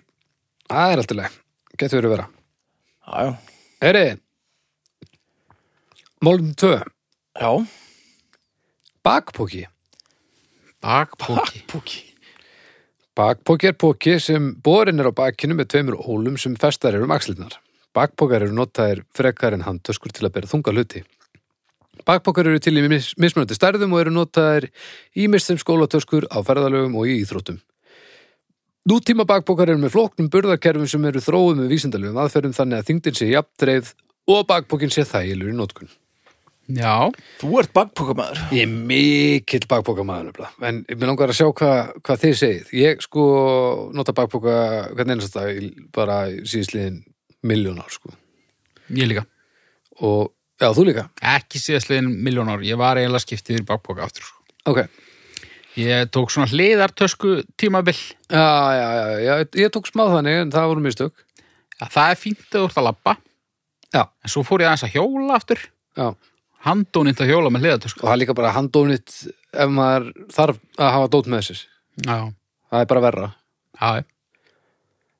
[SPEAKER 3] það er alltaf leið, getur verið að vera.
[SPEAKER 2] Já, já.
[SPEAKER 3] Heri, málum 2,
[SPEAKER 2] Já,
[SPEAKER 3] bakpóki.
[SPEAKER 1] Bakpóki.
[SPEAKER 2] bakpúki.
[SPEAKER 3] Bakpóki er póki sem borinn er á bakinu með tveimur ólum sem festar eru um axlirnar. Bakpókar eru notaðir frekar en handtöskur til að bera þunga hluti. Bakpókar eru til í mis mismunandi stærðum og eru notaðir í mistum skólatöskur á ferðalögum og í íþróttum. Nútíma bakpókar eru með flóknum burðarkerfum sem eru þróið með vísindalögum aðferðum þannig að þyngdin sé jafndreif og bakpókin sé þægilegur í nótkun.
[SPEAKER 1] Já.
[SPEAKER 2] Þú ert bakpúkamaður.
[SPEAKER 3] Ég er mikill bakbókamaður nefnilega, en mér langar að sjá hva, hvað þið segið. Ég sko nota bakbóka hvernig einast dag í- bara síðisliðin miljón ár sko.
[SPEAKER 1] Ég líka.
[SPEAKER 3] Og já, þú líka.
[SPEAKER 1] Ekki síðastliðin miljón ár. Ég var eiginlega skiptið í bakpóka aftur. sko.
[SPEAKER 3] Ok.
[SPEAKER 1] Ég tók svona hliðartösku tímabil.
[SPEAKER 3] Já, já, já, já, ég- ég tók smá þannig en það voru mistök.
[SPEAKER 1] Já, það er fínt að þú ert að labba.
[SPEAKER 3] Já.
[SPEAKER 1] En svo fór ég aðeins að hjóla aftur.
[SPEAKER 3] Já, og
[SPEAKER 1] Handónýtt að hjóla með hliðartösku.
[SPEAKER 3] það er líka bara handónit ef maður þarf að hafa dót með sér.
[SPEAKER 1] Já.
[SPEAKER 3] Það er bara verra.
[SPEAKER 1] Já. já.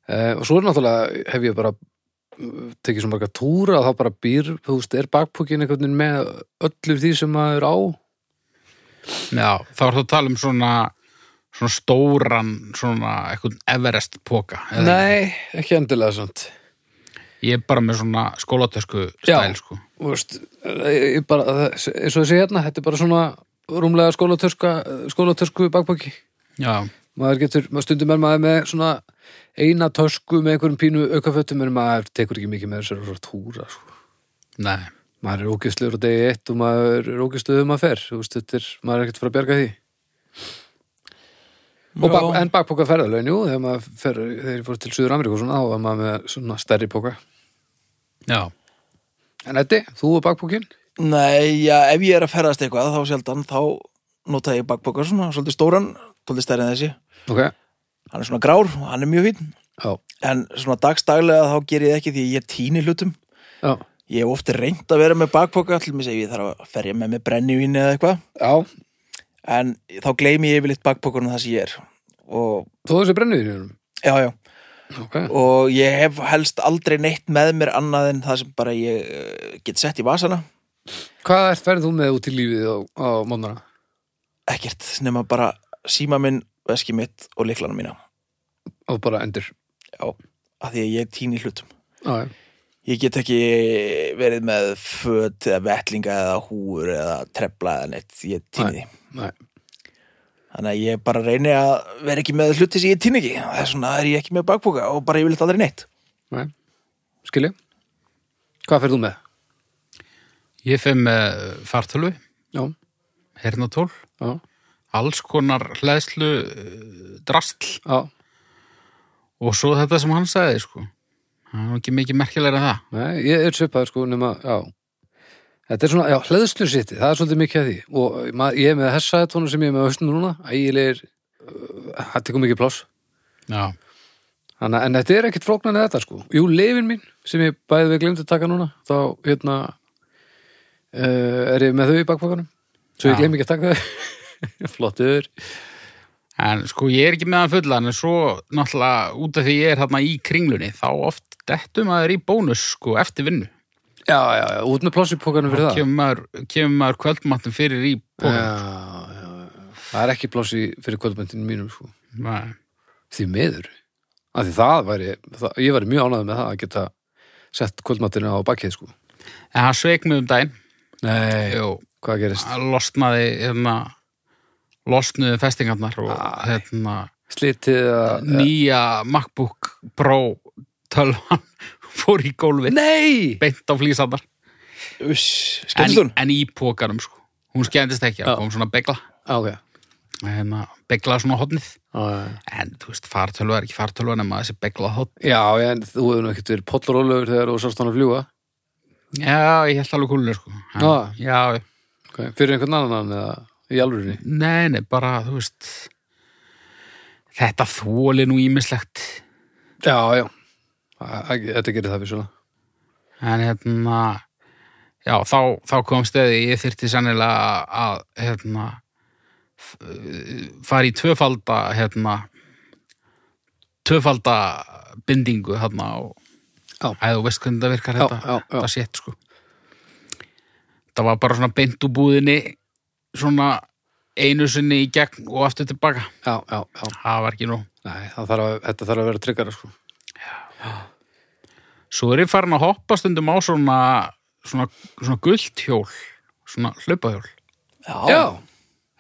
[SPEAKER 3] Uh, og svo er náttúrulega hef ég bara eh, tekið svo marga túra að það bara býr, þú veist, er bakpókin einhvern veginn með öllu því sem maður á
[SPEAKER 1] Já. Þá er það að tala um svona, svona stóran, svona eitthvað Everest póka.
[SPEAKER 3] Nei, ekki endilega svont
[SPEAKER 1] Ég er bara með svona skólatösku
[SPEAKER 3] Já.
[SPEAKER 1] stæl, sko.
[SPEAKER 3] veist, ég ég bara, það- eins og þessi hérna þetta er bara svona rúmlega skólatösku skólatösku bakpóki
[SPEAKER 1] Já.
[SPEAKER 3] maður getur, maður stundum er maður með svona eina tösku með einhverjum pínu aukafötum en maður tekur ekki mikið með þessar svona túra sko.
[SPEAKER 1] Nei.
[SPEAKER 3] maður er ógistlegur á degi eitt og maður er ógistlegur um að fer þú veist, þetta er, maður er ekkert að fara að bjarga því Og bak, en bakpoka ferðalögin, jú, þegar maður fer, þegar ég fór til Suður Ameríku og svona, þá var maður með svona stærri poka.
[SPEAKER 1] Já.
[SPEAKER 3] En Eddi, þú og bakpokin?
[SPEAKER 2] Nei, já, ef ég er að ferðast eitthvað þá sjaldan, þá nota ég bakpúkar svona, svolítið stóran, svolítið stærri en þessi.
[SPEAKER 3] Ok.
[SPEAKER 2] Hann er svona grár og hann er mjög fín.
[SPEAKER 3] Já.
[SPEAKER 2] En svona dagstaglega þá ger ég það ekki því ég tíni hlutum.
[SPEAKER 3] Já.
[SPEAKER 2] Ég hef ofti reynd að vera með bakpoka til mér segi ég þarf að ferja með með brennivín eða eitthvað
[SPEAKER 3] Já.
[SPEAKER 2] en þá gleymi ég yfirleitt bakpokunum það sem ég er og
[SPEAKER 3] Þú þessi brennir í hennum?
[SPEAKER 2] já já
[SPEAKER 3] Ok.
[SPEAKER 2] og ég hef helst aldrei neitt með mér annað en það sem bara ég eh, get sett í vasana
[SPEAKER 3] Hvað er ferð þú með út í lífið á, á mónana?
[SPEAKER 2] ekkert nema bara síma minn, veski mitt og liklana mína
[SPEAKER 3] Og bara endur.
[SPEAKER 2] já, af því að ég tíni hlutum
[SPEAKER 3] Já, já.
[SPEAKER 2] ég get ekki verið með föt eða vettlinga eða húur eða trefla eða neitt, ég tíni því
[SPEAKER 3] Nei.
[SPEAKER 2] Þannig að ég bara reyni að vera ekki með hluti sem ég tíni ekki. Þess vegna er ég ekki með bakbóka og bara ég vil þetta aldrei neitt.
[SPEAKER 3] Nei. Skilja. Hvað ferð þú með?
[SPEAKER 1] Ég fer með fartölu,
[SPEAKER 3] Já.
[SPEAKER 1] hernatól,
[SPEAKER 3] Já.
[SPEAKER 1] alls konar hlæðslu eh, drastl
[SPEAKER 3] Já.
[SPEAKER 1] og svo þetta sem hann sagði, sko. Það er nú ekki mikið merkilega en það.
[SPEAKER 3] Nei, ég er svipaður sko nema, já. Þetta er svona, já, hleðslu sitti, það er svolítið mikið að því. Og mað, ég er með hessaðetónu sem ég er með haustum núna, ægilegir, uh, það tekur mikið pláss.
[SPEAKER 1] Já.
[SPEAKER 3] Þannig, að- en þetta er ekkert flóknan eða þetta sko. Jú, lifin mín, sem ég bæði við glemt að taka núna, þá hérna uh, er ég með þau í bakpakanum. Svo ég
[SPEAKER 1] Já.
[SPEAKER 3] gleym ekki að taka þau. Flottur.
[SPEAKER 1] En sko, ég er ekki með hann fullan, en svo náttúrulega út af því ég er hérna í kringlunni, þá oft dettum maður í bónus, sko, eftir vinnu.
[SPEAKER 3] Já, já, já, út með pláss í pokanum fyrir það.
[SPEAKER 1] Kemur maður, kemur maður kvöldmattum fyrir í
[SPEAKER 3] Já,
[SPEAKER 1] bónus.
[SPEAKER 3] já, já. Það er ekki pláss í fyrir kvöldmöndinu mínum sko.
[SPEAKER 1] Nei.
[SPEAKER 3] því miður af því það væri, það, ég væri mjög ánægð með það að geta sett kvöldmattinu á bakið sko
[SPEAKER 1] En hann sveik mig um daginn.
[SPEAKER 3] Nei,
[SPEAKER 1] Jú.
[SPEAKER 3] hvað gerist?
[SPEAKER 1] Hann losnaði, hérna, losnuðu festingarnar og,
[SPEAKER 3] Æ.
[SPEAKER 1] hérna,
[SPEAKER 3] Slitið að
[SPEAKER 1] nýja MacBook Pro 12 fór í gólfið
[SPEAKER 3] Nei!
[SPEAKER 1] beint á flýsandar
[SPEAKER 2] Uss, skemmtist
[SPEAKER 1] en,
[SPEAKER 2] hún?
[SPEAKER 1] en í pókarum sko hún skemmtist ekki,
[SPEAKER 3] Já.
[SPEAKER 1] það kom svona begla
[SPEAKER 3] Á, Ah, ok
[SPEAKER 1] hérna, begla svona hotnið
[SPEAKER 3] Á, já.
[SPEAKER 1] en þú veist, fartölva er ekki fartölva nema þessi begla hotn
[SPEAKER 3] Já, já, en þú hefur nú ekkert verið pollrólegur þegar þú sást hann að fljúga
[SPEAKER 1] já, ég held alveg kúlinu sko en,
[SPEAKER 3] Já.
[SPEAKER 1] já,
[SPEAKER 3] okay. fyrir einhvern annan eða í alvörinni
[SPEAKER 1] nei, nei, bara þú veist þetta þóli nú ímislegt
[SPEAKER 3] Já, já, Æ, æ, þetta gerir það fyrir svona
[SPEAKER 1] en hérna já, þá, þá kom steði ég þyrfti sannilega að hérna, eh, fara í tvöfalda hérna tvöfalda bindingu hérna og
[SPEAKER 3] Já.
[SPEAKER 1] eða þú veist hvernig hérna. það virkar
[SPEAKER 3] Já,
[SPEAKER 1] þetta,
[SPEAKER 3] já, já.
[SPEAKER 1] þetta sétt sko það var bara svona beint úr búðinni svona einu sinni í gegn og aftur tilbaka
[SPEAKER 3] já, já, já.
[SPEAKER 1] það var ekki nú
[SPEAKER 3] Nei, það þarf að, þetta þarf að vera tryggara sko.
[SPEAKER 1] svo er ég farin að hoppa stundum á svona svona, svona gult hjól svona hlaupahjól
[SPEAKER 3] Já,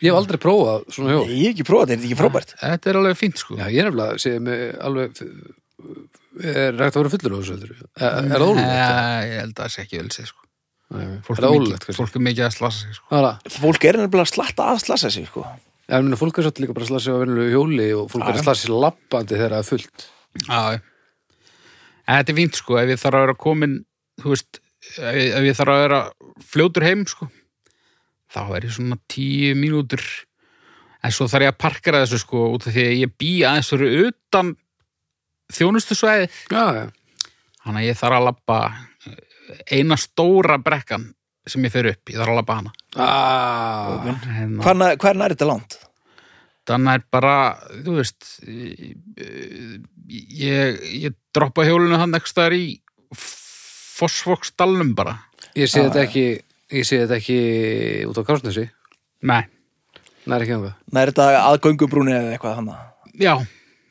[SPEAKER 3] ég hef aldrei prófað svona hjól.
[SPEAKER 2] Ég hef ekki prófað þetta, er þetta ekki frábært?
[SPEAKER 1] þetta er alveg fínt sko
[SPEAKER 3] Já, ég er nefnilega, segja mig alveg, er rægt að vera fullur á þessu heldur? Er, er það ólulegt?
[SPEAKER 1] Nei, ég held að það sé ekki vel sér sko.
[SPEAKER 3] Nei,
[SPEAKER 1] fólk,
[SPEAKER 3] er það ólulegt,
[SPEAKER 1] mikið,
[SPEAKER 3] kannski?
[SPEAKER 1] fólk er mikið að slasa sig sko.
[SPEAKER 3] Það er það.
[SPEAKER 2] Fólk er nefnilega að slatta að slassa sig, sko.
[SPEAKER 3] Já, ég meina, fólk er svolítið líka bara að slasa sig á venjulegu hjóli og fólk er að slasa sig lappandi þegar það er fullt.
[SPEAKER 1] Já, já. En þetta er fínt sko ef ég þarf að vera komin þú veist, ef ég, ef ég þarf að vera fljótur heim sko þá er ég svona tíu mínútur en svo þarf ég að parkera þessu sko út af því að ég bý aðeins fyrir utan þjónustusvæði
[SPEAKER 3] Já, já,
[SPEAKER 1] þannig að ég þarf að labba eh, eina stóra brekkan sem ég fer upp, ég þarf að labba hana
[SPEAKER 3] Ah,
[SPEAKER 1] hérna,
[SPEAKER 2] Hvað na- hvað er nær þetta langt?
[SPEAKER 1] þannig er bara þú veist eh, eh, ég, ég droppa hjólinu hann ekki staðar í fosfóksdalnum bara
[SPEAKER 3] ég sé þetta ekki ég sé þetta ekki út á Kársnesi
[SPEAKER 1] nei,
[SPEAKER 3] Nei, ekki þangað
[SPEAKER 2] Nær þetta að göngubrúni eða eitthvað þannig?
[SPEAKER 1] já,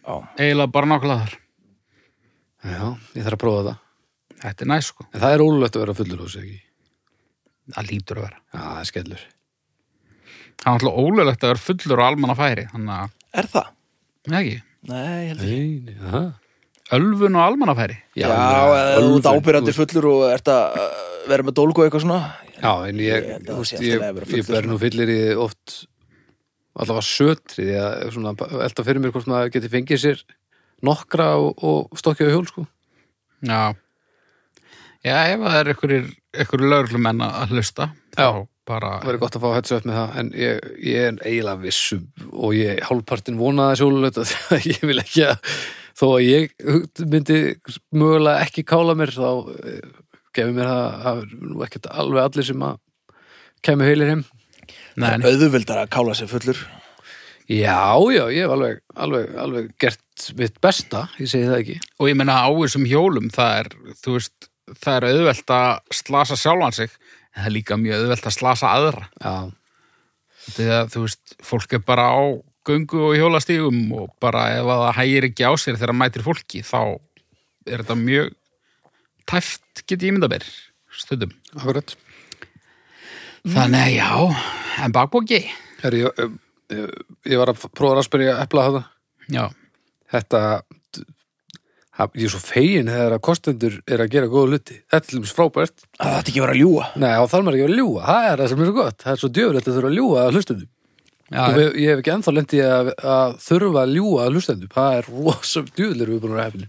[SPEAKER 2] Já.
[SPEAKER 1] eiginlega bara nákvæmlega þar
[SPEAKER 3] Já, ég þarf að prófa það
[SPEAKER 1] þetta er næs sko,
[SPEAKER 3] En það er ólulegt að vera fullur á þessu ekki Já,
[SPEAKER 1] það lítur að vera
[SPEAKER 3] það er skellur
[SPEAKER 1] það er alltaf ólöglegt að vera fullur á almanna færi þannig að,
[SPEAKER 2] Er það?
[SPEAKER 1] Nei, ekki,
[SPEAKER 2] Nei, ég held ekki.
[SPEAKER 3] Nei, nei, það
[SPEAKER 1] ölfun á almanna færi
[SPEAKER 2] Já,
[SPEAKER 3] ég meina,
[SPEAKER 2] eða þú ert
[SPEAKER 3] ölfun,
[SPEAKER 2] ábyrjandi
[SPEAKER 3] þú
[SPEAKER 2] fullur og ert að uh, vera með dólgu og eitthvað svona.
[SPEAKER 3] veist. Já, en ég,
[SPEAKER 2] Ég held
[SPEAKER 3] þú
[SPEAKER 2] að það
[SPEAKER 3] veist,
[SPEAKER 2] sé
[SPEAKER 3] ég,
[SPEAKER 2] alltaf
[SPEAKER 3] ég
[SPEAKER 2] að vera fullur sko.
[SPEAKER 3] ber nú fyllir í oft allavega sötri því að svona, elda fyrir mér hvort maður geti fengið sér nokkra og, og stokkja á hjól, sko
[SPEAKER 1] já já, ef það er ykkur lögreglumenn að hlusta
[SPEAKER 3] Já.
[SPEAKER 1] þá bara,
[SPEAKER 3] Það verður gott að fá hættu upp með það en ég, ég er eiginlega vissum og ég hálfpartin vonaði sjólulegt að ég vil ekki að þó að ég myndi mögulega ekki kála mér þá eh, gefur mér það það er nú ekkert alveg allir sem að kemur heilir heim.
[SPEAKER 1] nei, nei,
[SPEAKER 2] Öðvöldar að kála sig fullur.
[SPEAKER 3] Já, já, ég hef alveg, alveg, alveg gert mitt besta, ég segi það ekki.
[SPEAKER 1] og ég meina á þessum hjólum það er, þú veist, það er auðvelt að slasa sjálfan sig en það er líka mjög auðvelt að slasa aðra
[SPEAKER 3] Já,
[SPEAKER 1] þegar þú veist, fólk er bara á göngu og hjólastígum og bara ef að það hægir ekki á sér þegar mætir fólki þá er þetta mjög tæft get ég mynda mér stundum
[SPEAKER 3] akkurat. Mm.
[SPEAKER 1] þannig að já, en bakbóki
[SPEAKER 3] Heri, ég, ég, ég var að prófa að spyrja epla það.
[SPEAKER 1] já,
[SPEAKER 3] þetta það- ég er svo fegin þegar að kostendur er að gera góða luti þetta er til dæmis frábært
[SPEAKER 2] Að það ætti ekki að vera að ljúga.
[SPEAKER 3] Nei, og þarf maður ekki að ljúga, það er það sem er svo gott það er svo djöfulegt að þurfa að ljúga að hlustendum
[SPEAKER 1] já,
[SPEAKER 3] og við, ég hef ekki ennþá lendi að, að þurfa að ljúga að hlustendum það er rosum djöfulegur við búin að hefni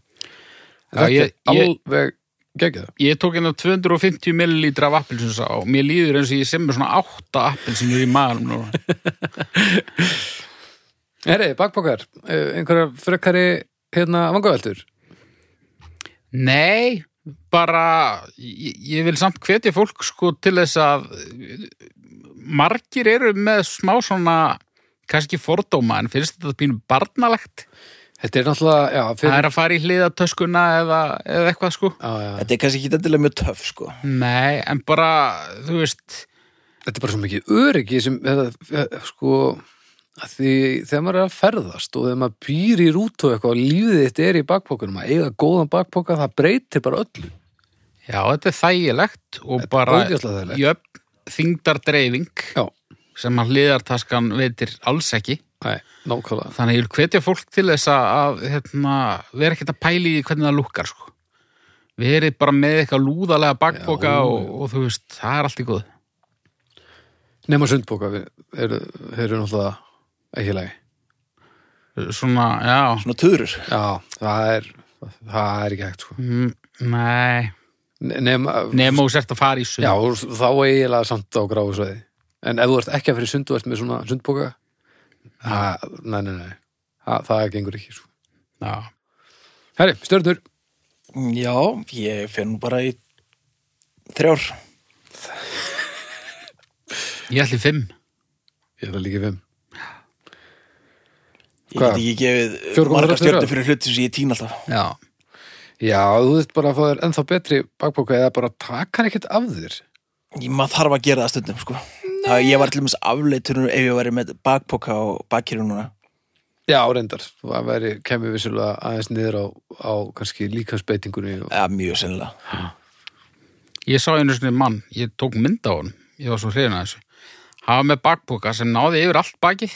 [SPEAKER 1] Já,
[SPEAKER 3] þetta
[SPEAKER 1] ég-
[SPEAKER 3] er
[SPEAKER 1] ég-
[SPEAKER 3] alveg geggjað
[SPEAKER 1] ég tók hérna 250 millilítra af appelsinsa og mér líður eins og ég sem er svona 8 appelsinur í maðurum núna
[SPEAKER 3] Herri, bakbókar, eh, einhverjar frekari hérna vangaveltur
[SPEAKER 1] Nei, bara ég, ég vil samt hvetja fólk sko til þess að eh, margir eru með smá svona kannski fordóma en finnst þetta pínu barnalegt
[SPEAKER 3] Þetta er náttúrulega, já,
[SPEAKER 1] það
[SPEAKER 3] fyrir
[SPEAKER 1] er að fara í hliðatöskuna eða, eða eitthvað sko
[SPEAKER 3] Já, já.
[SPEAKER 2] Þetta er kannski ekki endilega mjög töff, sko.
[SPEAKER 1] Nei, en bara, þú veist
[SPEAKER 3] þetta er bara svo mikið öryggi sem þetta, sko að því þegar maður er að ferðast og þegar maður býr í rút og eitthvað og lífið þitt er í bakpokunum að eiga góðan bakpoka það breytir bara öllu
[SPEAKER 1] já, þetta er þægilegt og
[SPEAKER 3] Þetta er
[SPEAKER 1] bara
[SPEAKER 3] ógeðslega þægilegt.
[SPEAKER 1] jöfn þingdardreifing
[SPEAKER 3] Já.
[SPEAKER 1] sem að hliðartaskan veitir alls ekki
[SPEAKER 3] Nei, nákvæmlega
[SPEAKER 1] þannig að ég vil hvetja fólk til þess að, að hérna, vera ekkert að pæli í hvernig það lukkar sko. verið bara með eitthvað lúðalega bakboka
[SPEAKER 3] Já.
[SPEAKER 1] og, og þú veist, það er allt í góð
[SPEAKER 3] nema sundpoka við eru, eru náttúrulega ekki í lagi
[SPEAKER 1] svona, já
[SPEAKER 2] Svona töðurur.
[SPEAKER 3] Já, það er það er ekki hægt sko
[SPEAKER 1] mm, nei,
[SPEAKER 3] Ne- nema,
[SPEAKER 1] nema þú sért að fara í sund
[SPEAKER 3] já, og þá eiginlega samt á gráu sveði en ef þú ert ekki að fyrir sund og ert með svona sundpoka Mm. það, nei, nei, nei það, það gengur ekki sko
[SPEAKER 1] já.
[SPEAKER 3] Herri, stjörnur
[SPEAKER 2] Já, ég fer nú bara í þrjár.
[SPEAKER 1] ég ætli fimm
[SPEAKER 3] Ég er það líka í fimm
[SPEAKER 2] Ég
[SPEAKER 3] Hvað?
[SPEAKER 2] get ekki gefið
[SPEAKER 3] 4,24?
[SPEAKER 2] marga stjörnir fyrir hluti sem ég týna alltaf
[SPEAKER 1] já,
[SPEAKER 3] Já, þú veist bara að fá þér ennþá betri bakpoka eða bara taka hann ekkert af þér
[SPEAKER 2] Ég- maður þarf að gera það stundum sko. það, ég var til dæmis afleitur ef ég væri með bakpoka og bakkýru núna
[SPEAKER 3] Já, reyndar, það væri kemur vissulega aðeins niður á, á kannski líkansbeitingunni og...
[SPEAKER 2] ja, mjög sennilega
[SPEAKER 1] Ég sá einu sinni mann, ég tók mynd á hann, ég var svo hrifin að þessu. Hann var með bakpoka sem náði yfir allt bakið,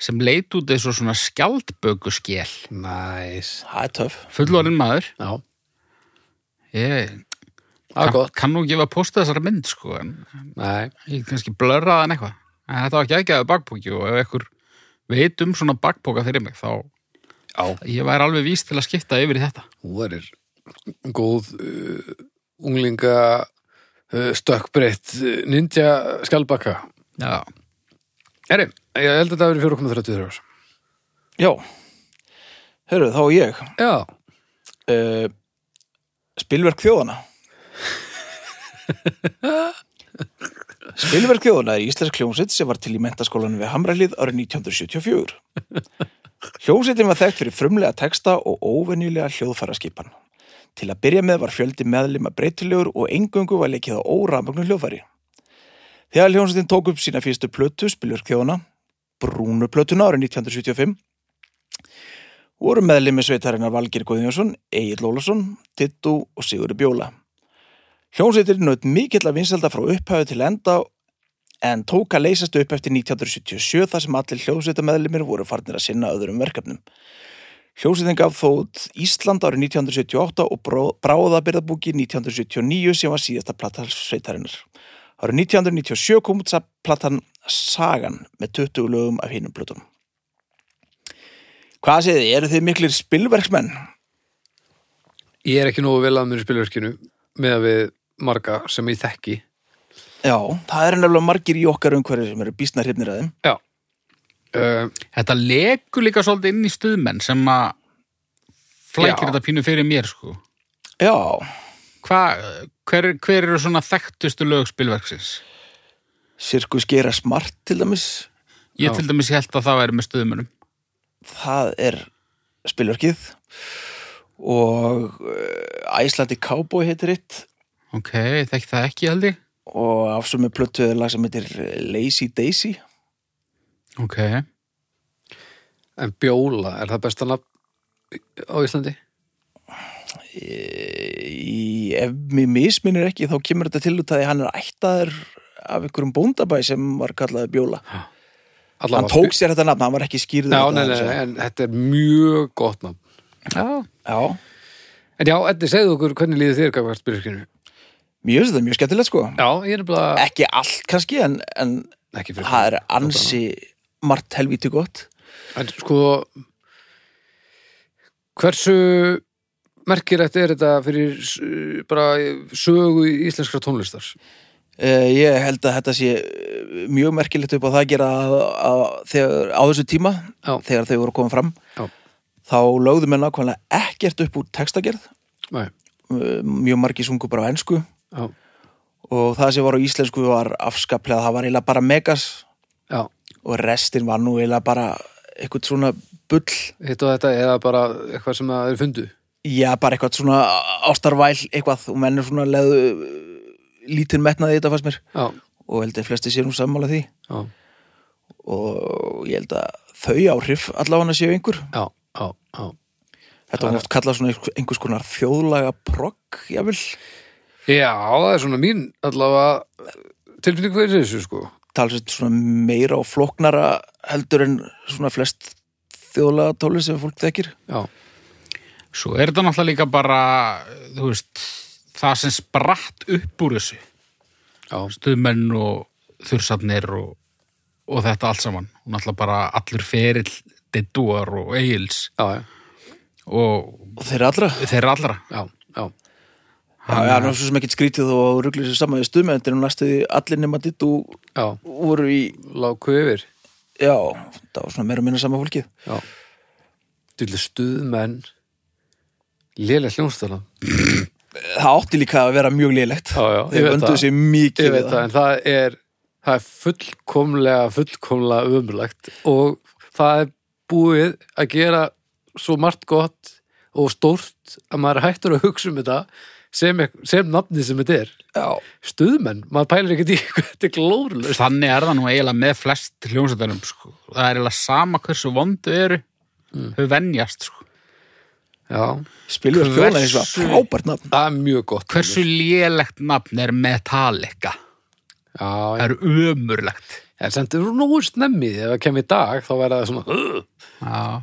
[SPEAKER 1] sem leit út eins og svona skjaldbökuskél.
[SPEAKER 3] Næs
[SPEAKER 2] það er töf
[SPEAKER 1] Fullorinn maður,
[SPEAKER 3] Já,
[SPEAKER 1] ég
[SPEAKER 3] það er
[SPEAKER 1] kann,
[SPEAKER 3] gott
[SPEAKER 1] kann nú gefa posta þessara mynd, sko, en
[SPEAKER 3] Nei,
[SPEAKER 1] ég get kannski blörraði hann eitthvað. En þetta var ekki aðgæðu bakpoki og ef ekkur veit um svona bakpoka fyrir mig, þá
[SPEAKER 3] Já.
[SPEAKER 1] ég væri alveg víst til að skipta yfir í þetta.
[SPEAKER 3] þú verir góð uh, unglinga uh, stökkbreytt uh, ninja skjálbakka
[SPEAKER 1] Já,
[SPEAKER 3] Herri, ég held að þetta hafi verið 4,33 árs
[SPEAKER 2] já, hörru þá er ég
[SPEAKER 3] Já,
[SPEAKER 2] uh, spilverk þjóðana Spilverk þjóðana er íslensk hljómsveit sem var til í mentaskólanum við Hamrælið árið 1974 Hljómsveitin var þekkt fyrir frumlega texta og óvenjulega hljóðfæraskipan Til að byrja með var fjöldi meðlima breytilegur og engöngu var leikið á órafmögnu hljóðfæri Þegar hljómsveitin tók upp sína fyrstu plötu Spilverk þjóðana Brúnu plötuna árið 1975 voru meðlimi sveitarinnar Valgir Guðjónsson, Egil Lólasson, Tittu og Sigurður Bjóla. Hljómsveitir naut mikill að vinselda frá upphæðu til enda en tók að leysast upp eftir 1977 þar sem allir hljómsveitameðlimir voru farnir að sinna öðrum verkefnum. Hljómsveitin gaf þó út Ísland árið 1978 og bró- bráðabirðabúki 1979 sem var síðasta plata sveitarinnar. Árið 1997 kom út sa- platan Sagan með 20 lögum af hinum plötum. Hvað segið þið, eru þið miklir spilverksmenn?
[SPEAKER 3] ég er ekki nógu vel að mér í spilverkinu með að við marga sem ég þekki
[SPEAKER 2] Já, það eru nefnilega margir í okkar umhverju sem eru býstna hrifnir að þeim.
[SPEAKER 3] Já uh,
[SPEAKER 1] þetta lekur líka svolítið inn í stuðmenn sem að
[SPEAKER 3] Já.
[SPEAKER 1] flækir þetta pínu fyrir mér, sko.
[SPEAKER 2] Já,
[SPEAKER 1] Hva, hver, hver eru svona þekktustu lögspilverksins?
[SPEAKER 2] sirkus gera smart til dæmis,
[SPEAKER 1] Ég
[SPEAKER 3] Já.
[SPEAKER 1] til dæmis held að það væri með stuðmönum.
[SPEAKER 2] það er spilverkið og eh, Æslandi Cowboy heitir eitt
[SPEAKER 1] Ok, þekki það ekki held ég.
[SPEAKER 2] og afsum með plötuðið lag sem heitir Lazy Daisy.
[SPEAKER 1] Ok.
[SPEAKER 3] En Bjóla, er það besta nafn á Íslandi?
[SPEAKER 2] Eh, Í, ef mér misminir ekki þá kemur þetta til út að hann er ættaður af einhverjum bóndabæ sem var kallaði Bjóla.
[SPEAKER 3] Alla
[SPEAKER 2] Hann tók sér þetta nafn, hann var ekki skýrður.
[SPEAKER 3] Já, nei, nei, nei, en þetta er mjög gott nafn
[SPEAKER 1] Já.
[SPEAKER 2] Já,
[SPEAKER 3] En já, Eddi, segðu okkur hvernig líður þér gafvært spilverkinu
[SPEAKER 2] mjög, þetta er mjög skemmtilegt sko.
[SPEAKER 3] Já, ég er bara
[SPEAKER 2] ekki allt kannski en, en
[SPEAKER 3] ekki fyrir
[SPEAKER 2] það er ansi margt helvíti gott
[SPEAKER 3] En sko Hversu merkilegt er þetta fyrir s- bara sögu íslenskra tónlistar?
[SPEAKER 2] uh, ég held að þetta sé eh, mjög merkilegt upp á það að gera að, að, þegar, á þessu tíma
[SPEAKER 3] Já.
[SPEAKER 2] þegar þau voru að koma fram
[SPEAKER 3] Já.
[SPEAKER 2] þá lögðu mér nákvæmlega ekkert upp úr textagerð
[SPEAKER 3] Nei,
[SPEAKER 2] Eh, mjög margi sungu bara á ensku
[SPEAKER 3] já,
[SPEAKER 2] og það sem var á íslensku var afskaplega það var eiginlega bara megas
[SPEAKER 3] já
[SPEAKER 2] og restin var nú eiginlega bara eitthvað svona bull
[SPEAKER 3] Hitt og þetta eða bara eitthvað sem það er fundu
[SPEAKER 2] Já, bara eitthvað svona ástarvæl eitthvað og mennur svona leðu lítinn metnaði í þetta fannst mér
[SPEAKER 3] Já,
[SPEAKER 2] og held að flesti sér nú sammála því
[SPEAKER 3] já,
[SPEAKER 2] og ég held að þau áhrif allavega séu einhver
[SPEAKER 3] já, já, já
[SPEAKER 2] Þetta var oft kallað svona einhvers- einhvers konar þjóðlaga progg, jável
[SPEAKER 3] Já, það er svona mín allavega tilfinning fyrir þessu sko
[SPEAKER 2] talsett svona meira og flóknara heldur en svona flest þjóðlaga tóli sem fólk þekkir
[SPEAKER 3] Já,
[SPEAKER 1] Svo er þetta náttúrulega líka bara, þú veist, það sem spratt upp úr þessu.
[SPEAKER 3] já,
[SPEAKER 1] Stuðmenn og þursarnir og, og þetta allt saman. Og náttúrulega bara allur ferill, deduar og eigils
[SPEAKER 3] já, já,
[SPEAKER 1] og
[SPEAKER 2] og þeir allra
[SPEAKER 1] þeirra allra.
[SPEAKER 3] já, já.
[SPEAKER 2] Já, já, nú er svo sem ekkert skrítið og rugglir sér saman í stuðmenndir og næstu því allir nema ditt og
[SPEAKER 3] já.
[SPEAKER 2] voru í
[SPEAKER 3] Láku yfir
[SPEAKER 2] já, það var svona meira og minna sama fólkið
[SPEAKER 3] Já Dillu stuðmenn Lélega hljónstala
[SPEAKER 2] það átti líka að vera mjög lélegt
[SPEAKER 3] Já, já, ég
[SPEAKER 2] þeir
[SPEAKER 3] veit
[SPEAKER 2] vönduðu
[SPEAKER 3] það.
[SPEAKER 2] sér mikið
[SPEAKER 3] Ég veit það, en það er það er fullkomlega, fullkomlega umlægt og það er búið að gera svo margt gott og stórt að maður er hættur að hugsa um þetta sem, sem nafnið sem þetta er
[SPEAKER 2] Já,
[SPEAKER 3] stuðmenn, maður pælir ekkert í hvað þetta er glórulöst
[SPEAKER 1] Þannig er það nú eiginlega með flest hljómsveitunum, sko. Það er eiginlega sama hversu vondu eru,
[SPEAKER 3] Mm.
[SPEAKER 1] þau venjast, sko.
[SPEAKER 3] Já,
[SPEAKER 2] spilur
[SPEAKER 1] Hversu-
[SPEAKER 2] þjóðlega eins og frábært nafn.
[SPEAKER 3] það er mjög gott
[SPEAKER 1] Hversu lélegt nafn er Metallica?
[SPEAKER 3] Já,
[SPEAKER 1] Það
[SPEAKER 3] já.
[SPEAKER 1] er umurlegt.
[SPEAKER 3] en sem þetta er nógu snemmi ef það kemur í dag, þá verða það svona "Ugh."
[SPEAKER 1] Já.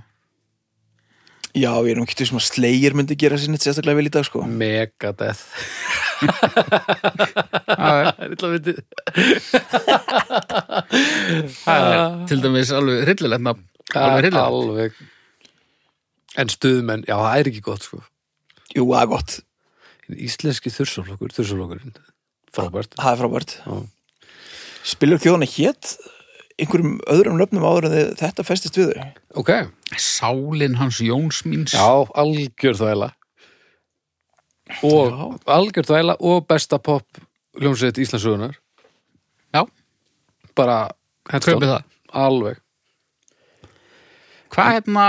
[SPEAKER 2] Já, ég er nú ekki til sem að Slayer myndi gera sinni sérstaklega vel í dag, sko.
[SPEAKER 3] Megadeth
[SPEAKER 1] Já,
[SPEAKER 3] Það er illa myndið
[SPEAKER 1] Það er til dæmis alveg hryllilegt nafn. Alveg
[SPEAKER 3] alveg,
[SPEAKER 1] hryllilegt.
[SPEAKER 3] Ah, alveg. En stuðmenn, já, það er ekki gott sko.
[SPEAKER 2] Jú, það er gott.
[SPEAKER 3] En Íslenski þursaflokkur, þursaflokkurinn Frábært
[SPEAKER 2] Það er frábært.
[SPEAKER 3] Já.
[SPEAKER 2] Spilur þjóðlega hétt einhverjum öðrum löfnum áður en þið- þetta festist við þau.
[SPEAKER 3] Ok,
[SPEAKER 1] Sálin hans Jóns míns.
[SPEAKER 3] já, algjör þvæla Og algjör þvæla og besta pop hljómsveit Íslandsugunar
[SPEAKER 1] Já.
[SPEAKER 3] Bara, hands down.
[SPEAKER 1] Kaupið það.
[SPEAKER 3] Alveg
[SPEAKER 1] Hvað hérna,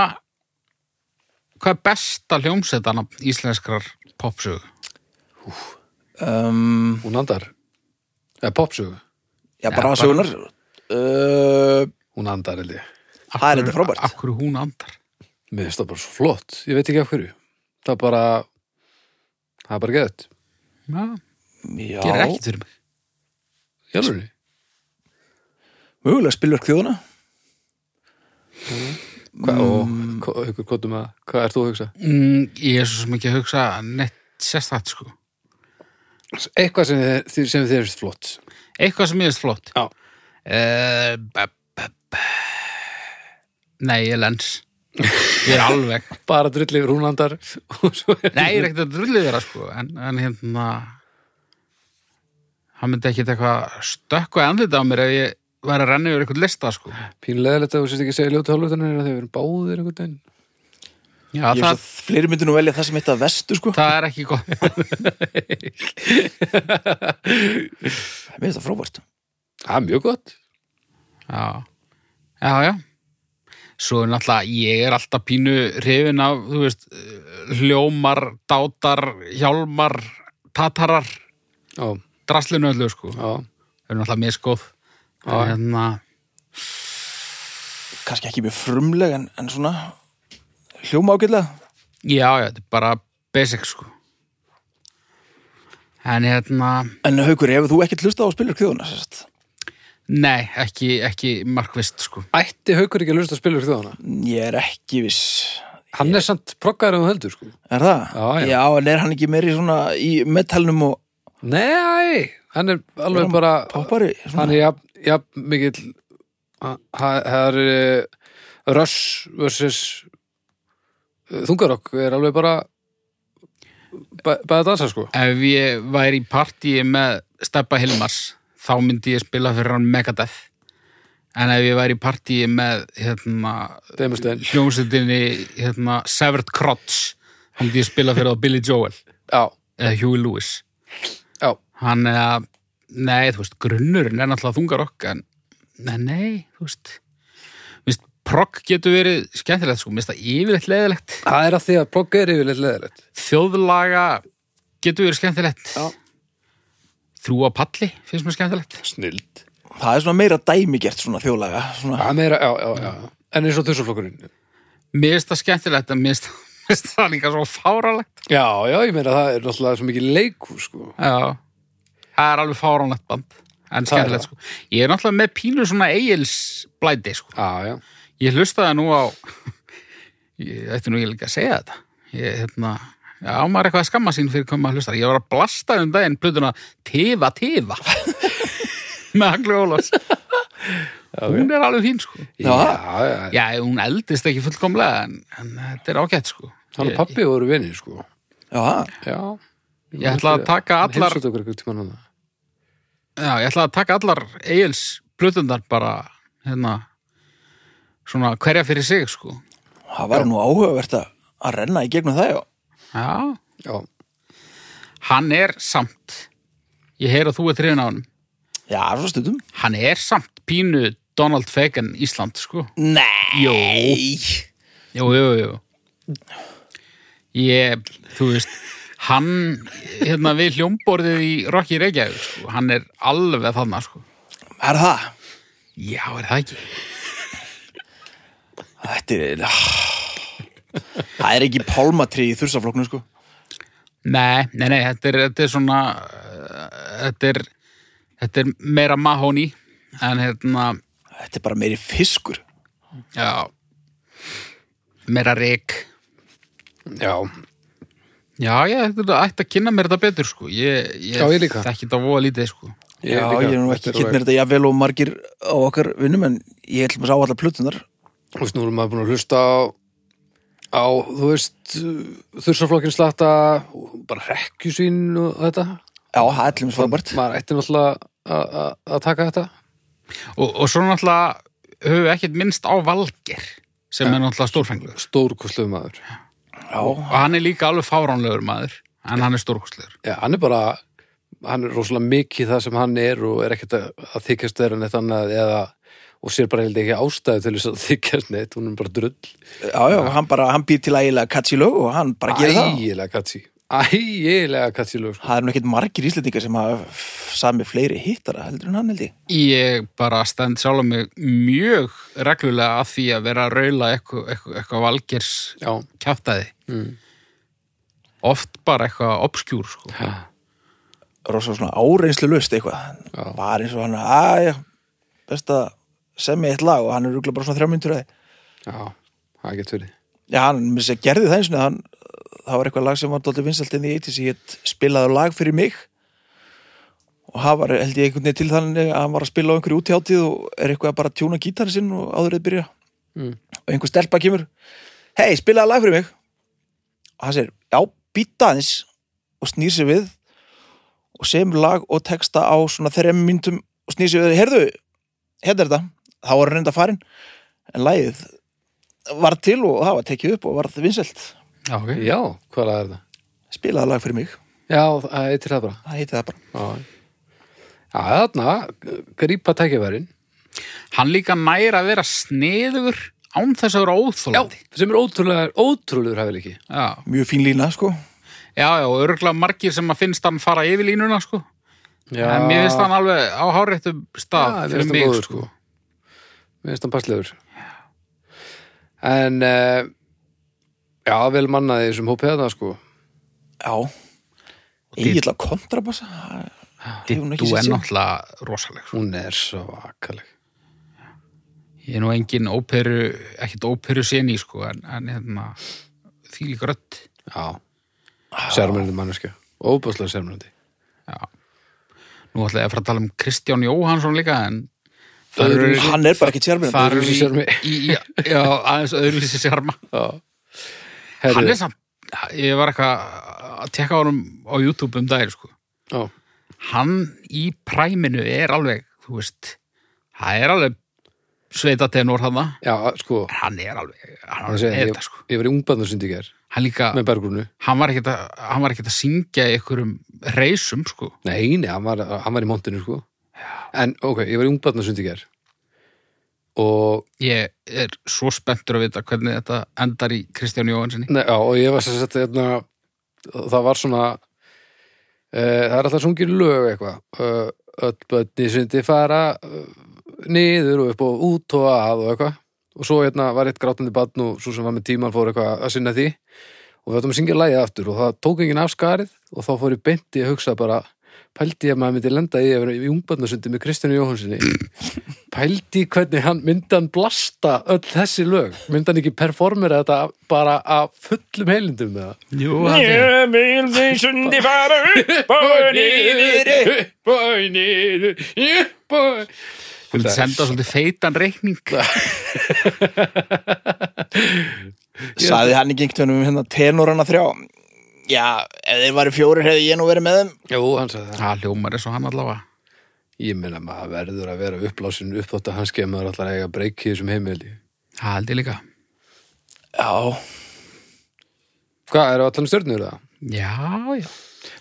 [SPEAKER 1] hvað er besta hljómsveitanafn íslenskrar popsögu?
[SPEAKER 2] Um,
[SPEAKER 3] Hún andar Eða popsugu,
[SPEAKER 2] já,
[SPEAKER 1] bara-
[SPEAKER 2] bara að sögunar. Uh,
[SPEAKER 3] hún andar held ég
[SPEAKER 1] Af
[SPEAKER 2] Það er
[SPEAKER 1] hverju-
[SPEAKER 2] þetta frábært.
[SPEAKER 1] Af hverju hún andar?
[SPEAKER 3] Mér finnst það bara svo flott, ég veit ekki af hverju Það er bara Það er bara geðut
[SPEAKER 1] Já,
[SPEAKER 2] já,
[SPEAKER 1] gerir ekkert fyrir mig.
[SPEAKER 3] Jálfurni
[SPEAKER 2] mögulega spilur þjóðuna.
[SPEAKER 3] Hvað, og hva- haukur, hvað, um að- hvað ert þú að hugsa?
[SPEAKER 1] Mm, ég er svo sem ekki að hugsa neitt sérstætt, sko.
[SPEAKER 3] Eitthvað sem þið, sem þið erist flott
[SPEAKER 1] Eitthvað sem ég veist flott.
[SPEAKER 3] Já.
[SPEAKER 1] Eh, b- b- b- Nei, ég er lens. Ég er alveg.
[SPEAKER 3] Bara drull yfir húnandar og svo er-
[SPEAKER 1] Nei, ég er ekkert að drullið vera, sko. En, en hérna, hann myndi ekkert eitthvað stökku andlita á mér ef ég væri að renna yfir eitthvað lista, sko.
[SPEAKER 3] Pínleðilegt að þú sérst ekki að segja ljóta hálfutanir að þið erum báðir einhvern veginn
[SPEAKER 1] Já, það,
[SPEAKER 2] Ég finnst að fleiri myndir nú velja það sem heitt að vestu, sko.
[SPEAKER 1] það er ekki gott.
[SPEAKER 2] Mér finnst það frábært.
[SPEAKER 3] Það er mjög gott
[SPEAKER 1] Já, já, já. Svo er náttúrulega, ég er alltaf pínu hrifin af, þú veist, eh, hljómar, dátar, hjálmar, tatarar,
[SPEAKER 3] Já,
[SPEAKER 1] draslinu öllu, sko.
[SPEAKER 3] já,
[SPEAKER 1] Það er náttúrulega miskóð.
[SPEAKER 3] Já.
[SPEAKER 1] En hérna,
[SPEAKER 2] Kannski ekki mjög frumleg en, en svona hljóma ágætlega.
[SPEAKER 1] já, já, þetta er bara basic, sko. En hérna,
[SPEAKER 2] En haukur, hefur þú ekkert hlustað á spilur þjóðuna, sérst?
[SPEAKER 1] nei, ekki, ekki markvist, sko.
[SPEAKER 3] Ætti haukur ekki að lusta að spila fyrir þjóðana
[SPEAKER 2] Ég er ekki viss.
[SPEAKER 3] Hann er samt proggaður um heldur sko
[SPEAKER 2] Er það?
[SPEAKER 3] Já, já.
[SPEAKER 2] en er hann ekki meiri svona í metalnum og
[SPEAKER 3] Nei, hann er alveg bara
[SPEAKER 2] poppari?
[SPEAKER 3] Hann
[SPEAKER 2] Svona?
[SPEAKER 3] er jafn, jafn mikill ha- ha- Það er eh, Rush versus eh, Þungarokk er alveg bara bæ- bæði að dansa sko
[SPEAKER 1] Ef ég væri í partíi með Steppa Hilmars, þá myndi ég spila fyrir hann Megadeth. En ef ég væri í partíi með hérna,
[SPEAKER 3] Demustein
[SPEAKER 1] hljómsveitinni hérna, Severed Crotch þá myndi ég spila fyrir þá Billy Joel
[SPEAKER 3] Já,
[SPEAKER 1] eða Huey Lewis
[SPEAKER 3] já,
[SPEAKER 1] hann er að, nei, þú veist, grunnurinn er náttúrulega þungar okk en, nei, nei, þú veist Vist, progg getur verið skemmtilegt sko, minnst það yfirleitt leðilegt
[SPEAKER 3] það er að því að plogg er yfirleitt leðilegt
[SPEAKER 1] þjóðlaga getur verið skemmtilegt
[SPEAKER 3] Já.
[SPEAKER 1] þrúa palli finnst mér skemmtilegt
[SPEAKER 3] Snild
[SPEAKER 2] Það er svona meira dæmigert svona þjóðlega. Svona.
[SPEAKER 3] Það er meira, já, já, já En eins og þursaflokkurinn
[SPEAKER 1] mér finnst það skemmtilegt en mér finnst- mér finnst það líka svo fáralegt
[SPEAKER 3] Já, já, ég meina það er náttúrulega svo mikið leiku sko
[SPEAKER 1] Já, það er alveg fáránlegt band En
[SPEAKER 3] Það er
[SPEAKER 1] skemmtilegt sko Ég er náttúrulega með pínu svona eigils blæti sko
[SPEAKER 3] Já, já,
[SPEAKER 1] Ég hlustaði nú á Ég ætti nú ég líka að segja þetta Ég, hérna Já, maður er eitthvað að skamma sín fyrir hvað maður hlustar Ég var að blasta um daginn plötuna Tefa, tefa Með Agli Ólafs Hún er alveg fín sko
[SPEAKER 2] Já.
[SPEAKER 3] já, já.
[SPEAKER 1] Já, hún eldist ekki fullkomlega En, en þetta er ágætt sko
[SPEAKER 3] Hann og pappi voru vinir sko
[SPEAKER 2] Já,
[SPEAKER 3] Já
[SPEAKER 1] Ég ætla að taka allar
[SPEAKER 3] Heilsótt okkur eitthvað tímann hana
[SPEAKER 1] Já, ég ætla að taka allar Egils blötundar bara hérna svona hverja fyrir sig sko
[SPEAKER 2] það var nú áhugavert að að renna í gegnum það, já.
[SPEAKER 1] Já,
[SPEAKER 3] Já,
[SPEAKER 1] hann er samt ég heyr að þú er trefin á hann
[SPEAKER 2] Já, svo stundum.
[SPEAKER 1] hann er samt pínu Donald Fagan Ísland, sko.
[SPEAKER 2] Nei
[SPEAKER 1] Jó. Jú, jú, jú. Ég, þú veist, hann, hérna við hljómborðið í Rocky Reykjavík, sko, hann er alveg þarna, sko.
[SPEAKER 2] Er það?
[SPEAKER 1] Já, er það ekki?
[SPEAKER 2] Þetta er ah. Það er ekki pálmatri í þursafloknum sko
[SPEAKER 1] Nei, nei, nei, þetta er, þetta er svona, eh, þetta er, þetta er meira mahóni, en hérna,
[SPEAKER 2] Þetta er bara meiri fiskur
[SPEAKER 1] já, meira reik.
[SPEAKER 3] Já,
[SPEAKER 1] Já, ég þetta ætti að kynna mér þetta betur, sko. Ég, ég,
[SPEAKER 3] Já, ég líka.
[SPEAKER 1] þekki þetta voða lítið, sko.
[SPEAKER 3] Ég
[SPEAKER 2] Já,
[SPEAKER 3] líka.
[SPEAKER 2] ég er nú
[SPEAKER 3] Þetta
[SPEAKER 2] ekki
[SPEAKER 3] er
[SPEAKER 2] kynnt mér þetta jafnvel og margir á okkar vinnum en ég ætlum að sá allar plötunar
[SPEAKER 3] þú veist, nú erum maður búin að hlusta á, á þú veist, þursaflokkin slatta, bara rekkjusvín og þetta.
[SPEAKER 2] Já, það er ætlum frábært
[SPEAKER 3] Maður ætti náttúrulega að- að að taka þetta.
[SPEAKER 1] Og, og svo náttúrulega höfum við ekkert minnst á Valger, sem er náttúrulega stórfenglur.
[SPEAKER 3] Stórkostlegu maður.
[SPEAKER 2] Já,
[SPEAKER 1] Og hann er líka alveg fáránlegur maður, en hann er stórkostlegur.
[SPEAKER 3] Já, hann er bara, hann er rosalega mikið það sem hann er og er ekkert að, að þykjast vera neitt annað eða, og sér bara held ekki ástæðu til þess að þykjast neitt, hún er bara drull.
[SPEAKER 2] já, já, hann bara, hann býr til ægilega katsi lög og hann bara gerir það
[SPEAKER 3] Ægilega katsi. Ægilega katsi lög, sko.
[SPEAKER 2] Það er nú ekkert margir íslendingar sem hafa f- samið fleiri hittara heldur en hann held ég
[SPEAKER 1] Ég bara stend sjálf mig mjög reglulega að því að vera að raula eitthvað eitthva, eitthva Valgers
[SPEAKER 3] Já.
[SPEAKER 1] kjáttæði.
[SPEAKER 3] Mm.
[SPEAKER 1] Oft bara eitthvað obskjúr, sko.
[SPEAKER 2] Rósa svona áreinslu löst eitthvað
[SPEAKER 3] Já.
[SPEAKER 2] Bara eins og hann, aðja, best að semja eitt lag og hann er rúglega bara svona þrjá myndur að
[SPEAKER 3] Já, það getur verið.
[SPEAKER 2] Já, hann mér sé gerði það eins og hann það var eitthvað lag sem var dálítið vinsalt inn í 80s ég get spilaði lag fyrir mig og hann var held ég einhvern veginn til þannig að hann var að spila á einhverju útjáttíð og er eitthvað að bara tjúna gítarinn sinn og áður eða byrja
[SPEAKER 3] Mm.
[SPEAKER 2] og einhver stelpa kemur hei, spilaði lag fyrir mig og hann segir, já, býta aðeins og snýr sér við og semur lag og texta á svona þrem myndum og snýr sér við heyrðu, hérna er þetta þá var hann reynda farin en lagið var til og það var tekið upp og var það vinselt
[SPEAKER 1] Já, ok.
[SPEAKER 3] Já, hvað er það?
[SPEAKER 2] spilaði lag fyrir mig,
[SPEAKER 3] Já, það er til það bara.
[SPEAKER 2] það heiti það bara
[SPEAKER 3] Já, já þarna, grípa tækifærin.
[SPEAKER 1] Hann líka næra að vera sniður án þess að vera óþólandi.
[SPEAKER 3] Sem er ótrúlega, ótrúlegur hæfileiki.
[SPEAKER 1] Já.
[SPEAKER 2] mjög fín lína sko
[SPEAKER 1] Já, já, og örgulega margir sem að finnst hann fara yfir línuna, sko.
[SPEAKER 3] Já,
[SPEAKER 1] En mér finnst hann alveg á háréttum stað
[SPEAKER 3] Já, mér
[SPEAKER 1] fyrir
[SPEAKER 3] finnst hann
[SPEAKER 1] mig,
[SPEAKER 3] góður,
[SPEAKER 1] sko.
[SPEAKER 3] Mér finnst hann passlegur. En, uh, já, vel mannaði í þessum hópið þarna, sko.
[SPEAKER 2] já, eiginlega kontrabassa það hefur hún ekki
[SPEAKER 1] Dittu
[SPEAKER 2] séð
[SPEAKER 1] er
[SPEAKER 2] síðan.
[SPEAKER 1] náttúrulega rosaleg, sko.
[SPEAKER 3] Hún er svakaleg.
[SPEAKER 1] Ég er nú engin óperu, ekkert óperu seni, sko, en, en hérna, því líka rödd.
[SPEAKER 3] Já. Sérmjöndi manneskja. Óbúslega sérmjöndi.
[SPEAKER 1] Já. Nú ætla ég að fara að tala um Kristján Jóhansson líka, en það eru
[SPEAKER 2] hann er bara ekki tjármjörn
[SPEAKER 1] það eru
[SPEAKER 3] öðruvísi sjarmi.
[SPEAKER 1] í, í, í, já, aðeins öðruvísi sjarma.
[SPEAKER 3] Já.
[SPEAKER 1] Hann
[SPEAKER 3] Herðu,
[SPEAKER 1] er samt, ég var eitthvað að tekka á honum á YouTube um dagir, sko.
[SPEAKER 3] já,
[SPEAKER 1] hann í præminu er alveg, þú veist það er alveg sveita tenor hann,
[SPEAKER 3] já, sko,
[SPEAKER 1] hann er alveg hann,
[SPEAKER 3] hann
[SPEAKER 1] er
[SPEAKER 3] segja,
[SPEAKER 1] þetta,
[SPEAKER 3] ég,
[SPEAKER 1] sko.
[SPEAKER 3] ég var í ungbarnarsundi í gær
[SPEAKER 1] hann líka,
[SPEAKER 3] með bergrúnu.
[SPEAKER 1] hann var ekkert að hann var ekkert að syngja í einhverjum reisum, sko,
[SPEAKER 3] Nei, nei, hann var, hann var í montinu, sko. En, ok, ég var í ungbarnarsundi í gær og
[SPEAKER 1] ég er svo spenntur að vita hvernig þetta endar í Kristján Jóhansinni
[SPEAKER 3] Nei, já, og ég var sem sagt hérna, það var svona e, það er alltaf sungin lög eitthvað Ö, öll bönni sundi fara ö, niður og upp og út og að og eitthvað og svo hérna var eitt grátandi barn og svo sem var með tíman fór eitthvað að sinna því og við ættum að syngja lagið aftur og það tók enginn af skarið og þá fór ég beinti að hugsa bara pældi ég að maður myndi lenda í að vera í ungbarnasundi með Kristjánu Jóhansinni pældi í hvernig hann myndi hann blasta öll þessi lög myndi hann ekki performera þetta bara að fullum heilindum með það
[SPEAKER 1] Jú, hann,
[SPEAKER 2] vil því sundi fara upp og
[SPEAKER 3] bói, niður, bói
[SPEAKER 1] hann senda svolítið feitan reikning
[SPEAKER 2] saði hann ekki einhvern veginn um hérna tenorana þrjá já, ef þeir varu fjórir hefði ég nú verið með þeim
[SPEAKER 3] Jú, hann sagði það
[SPEAKER 1] það hljómar eins og hann allavega
[SPEAKER 3] Ég meina maður verður að vera upplásin upp þótt að hann skeið maður allar eiga breyki í þessum heimili
[SPEAKER 1] það held ég líka
[SPEAKER 2] já,
[SPEAKER 3] Hvað, eru allan stjörnur það?
[SPEAKER 1] já, já,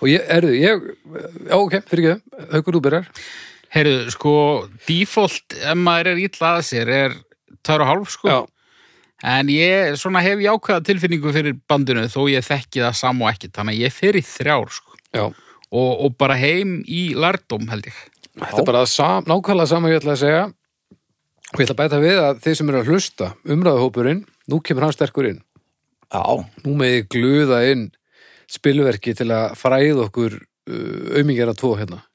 [SPEAKER 3] Og ég, erðu, ég, já ok, fyrir ekki Haukur, þú byrjar
[SPEAKER 1] Heyrðu, sko, default ef maður er illa að sér er tæru og hálf, sko.
[SPEAKER 3] Já,
[SPEAKER 1] En ég svona hef jákvæða tilfinningu fyrir bandinu þó ég þekki það sam og ekkert. Þannig að ég fer í þrjár, sko.
[SPEAKER 3] já.
[SPEAKER 1] Og, og bara heim í lærdóm, held ég.
[SPEAKER 3] Þetta er bara sam, nákvæmlega sama ég ætla að segja og ég ætla að bæta við að þið sem eru að hlusta umræðuhópurinn, nú kemur hann sterkur inn
[SPEAKER 2] Já,
[SPEAKER 3] nú meði gluða inn spilverki til að fræða okkur uh, aumingjara tvo hérna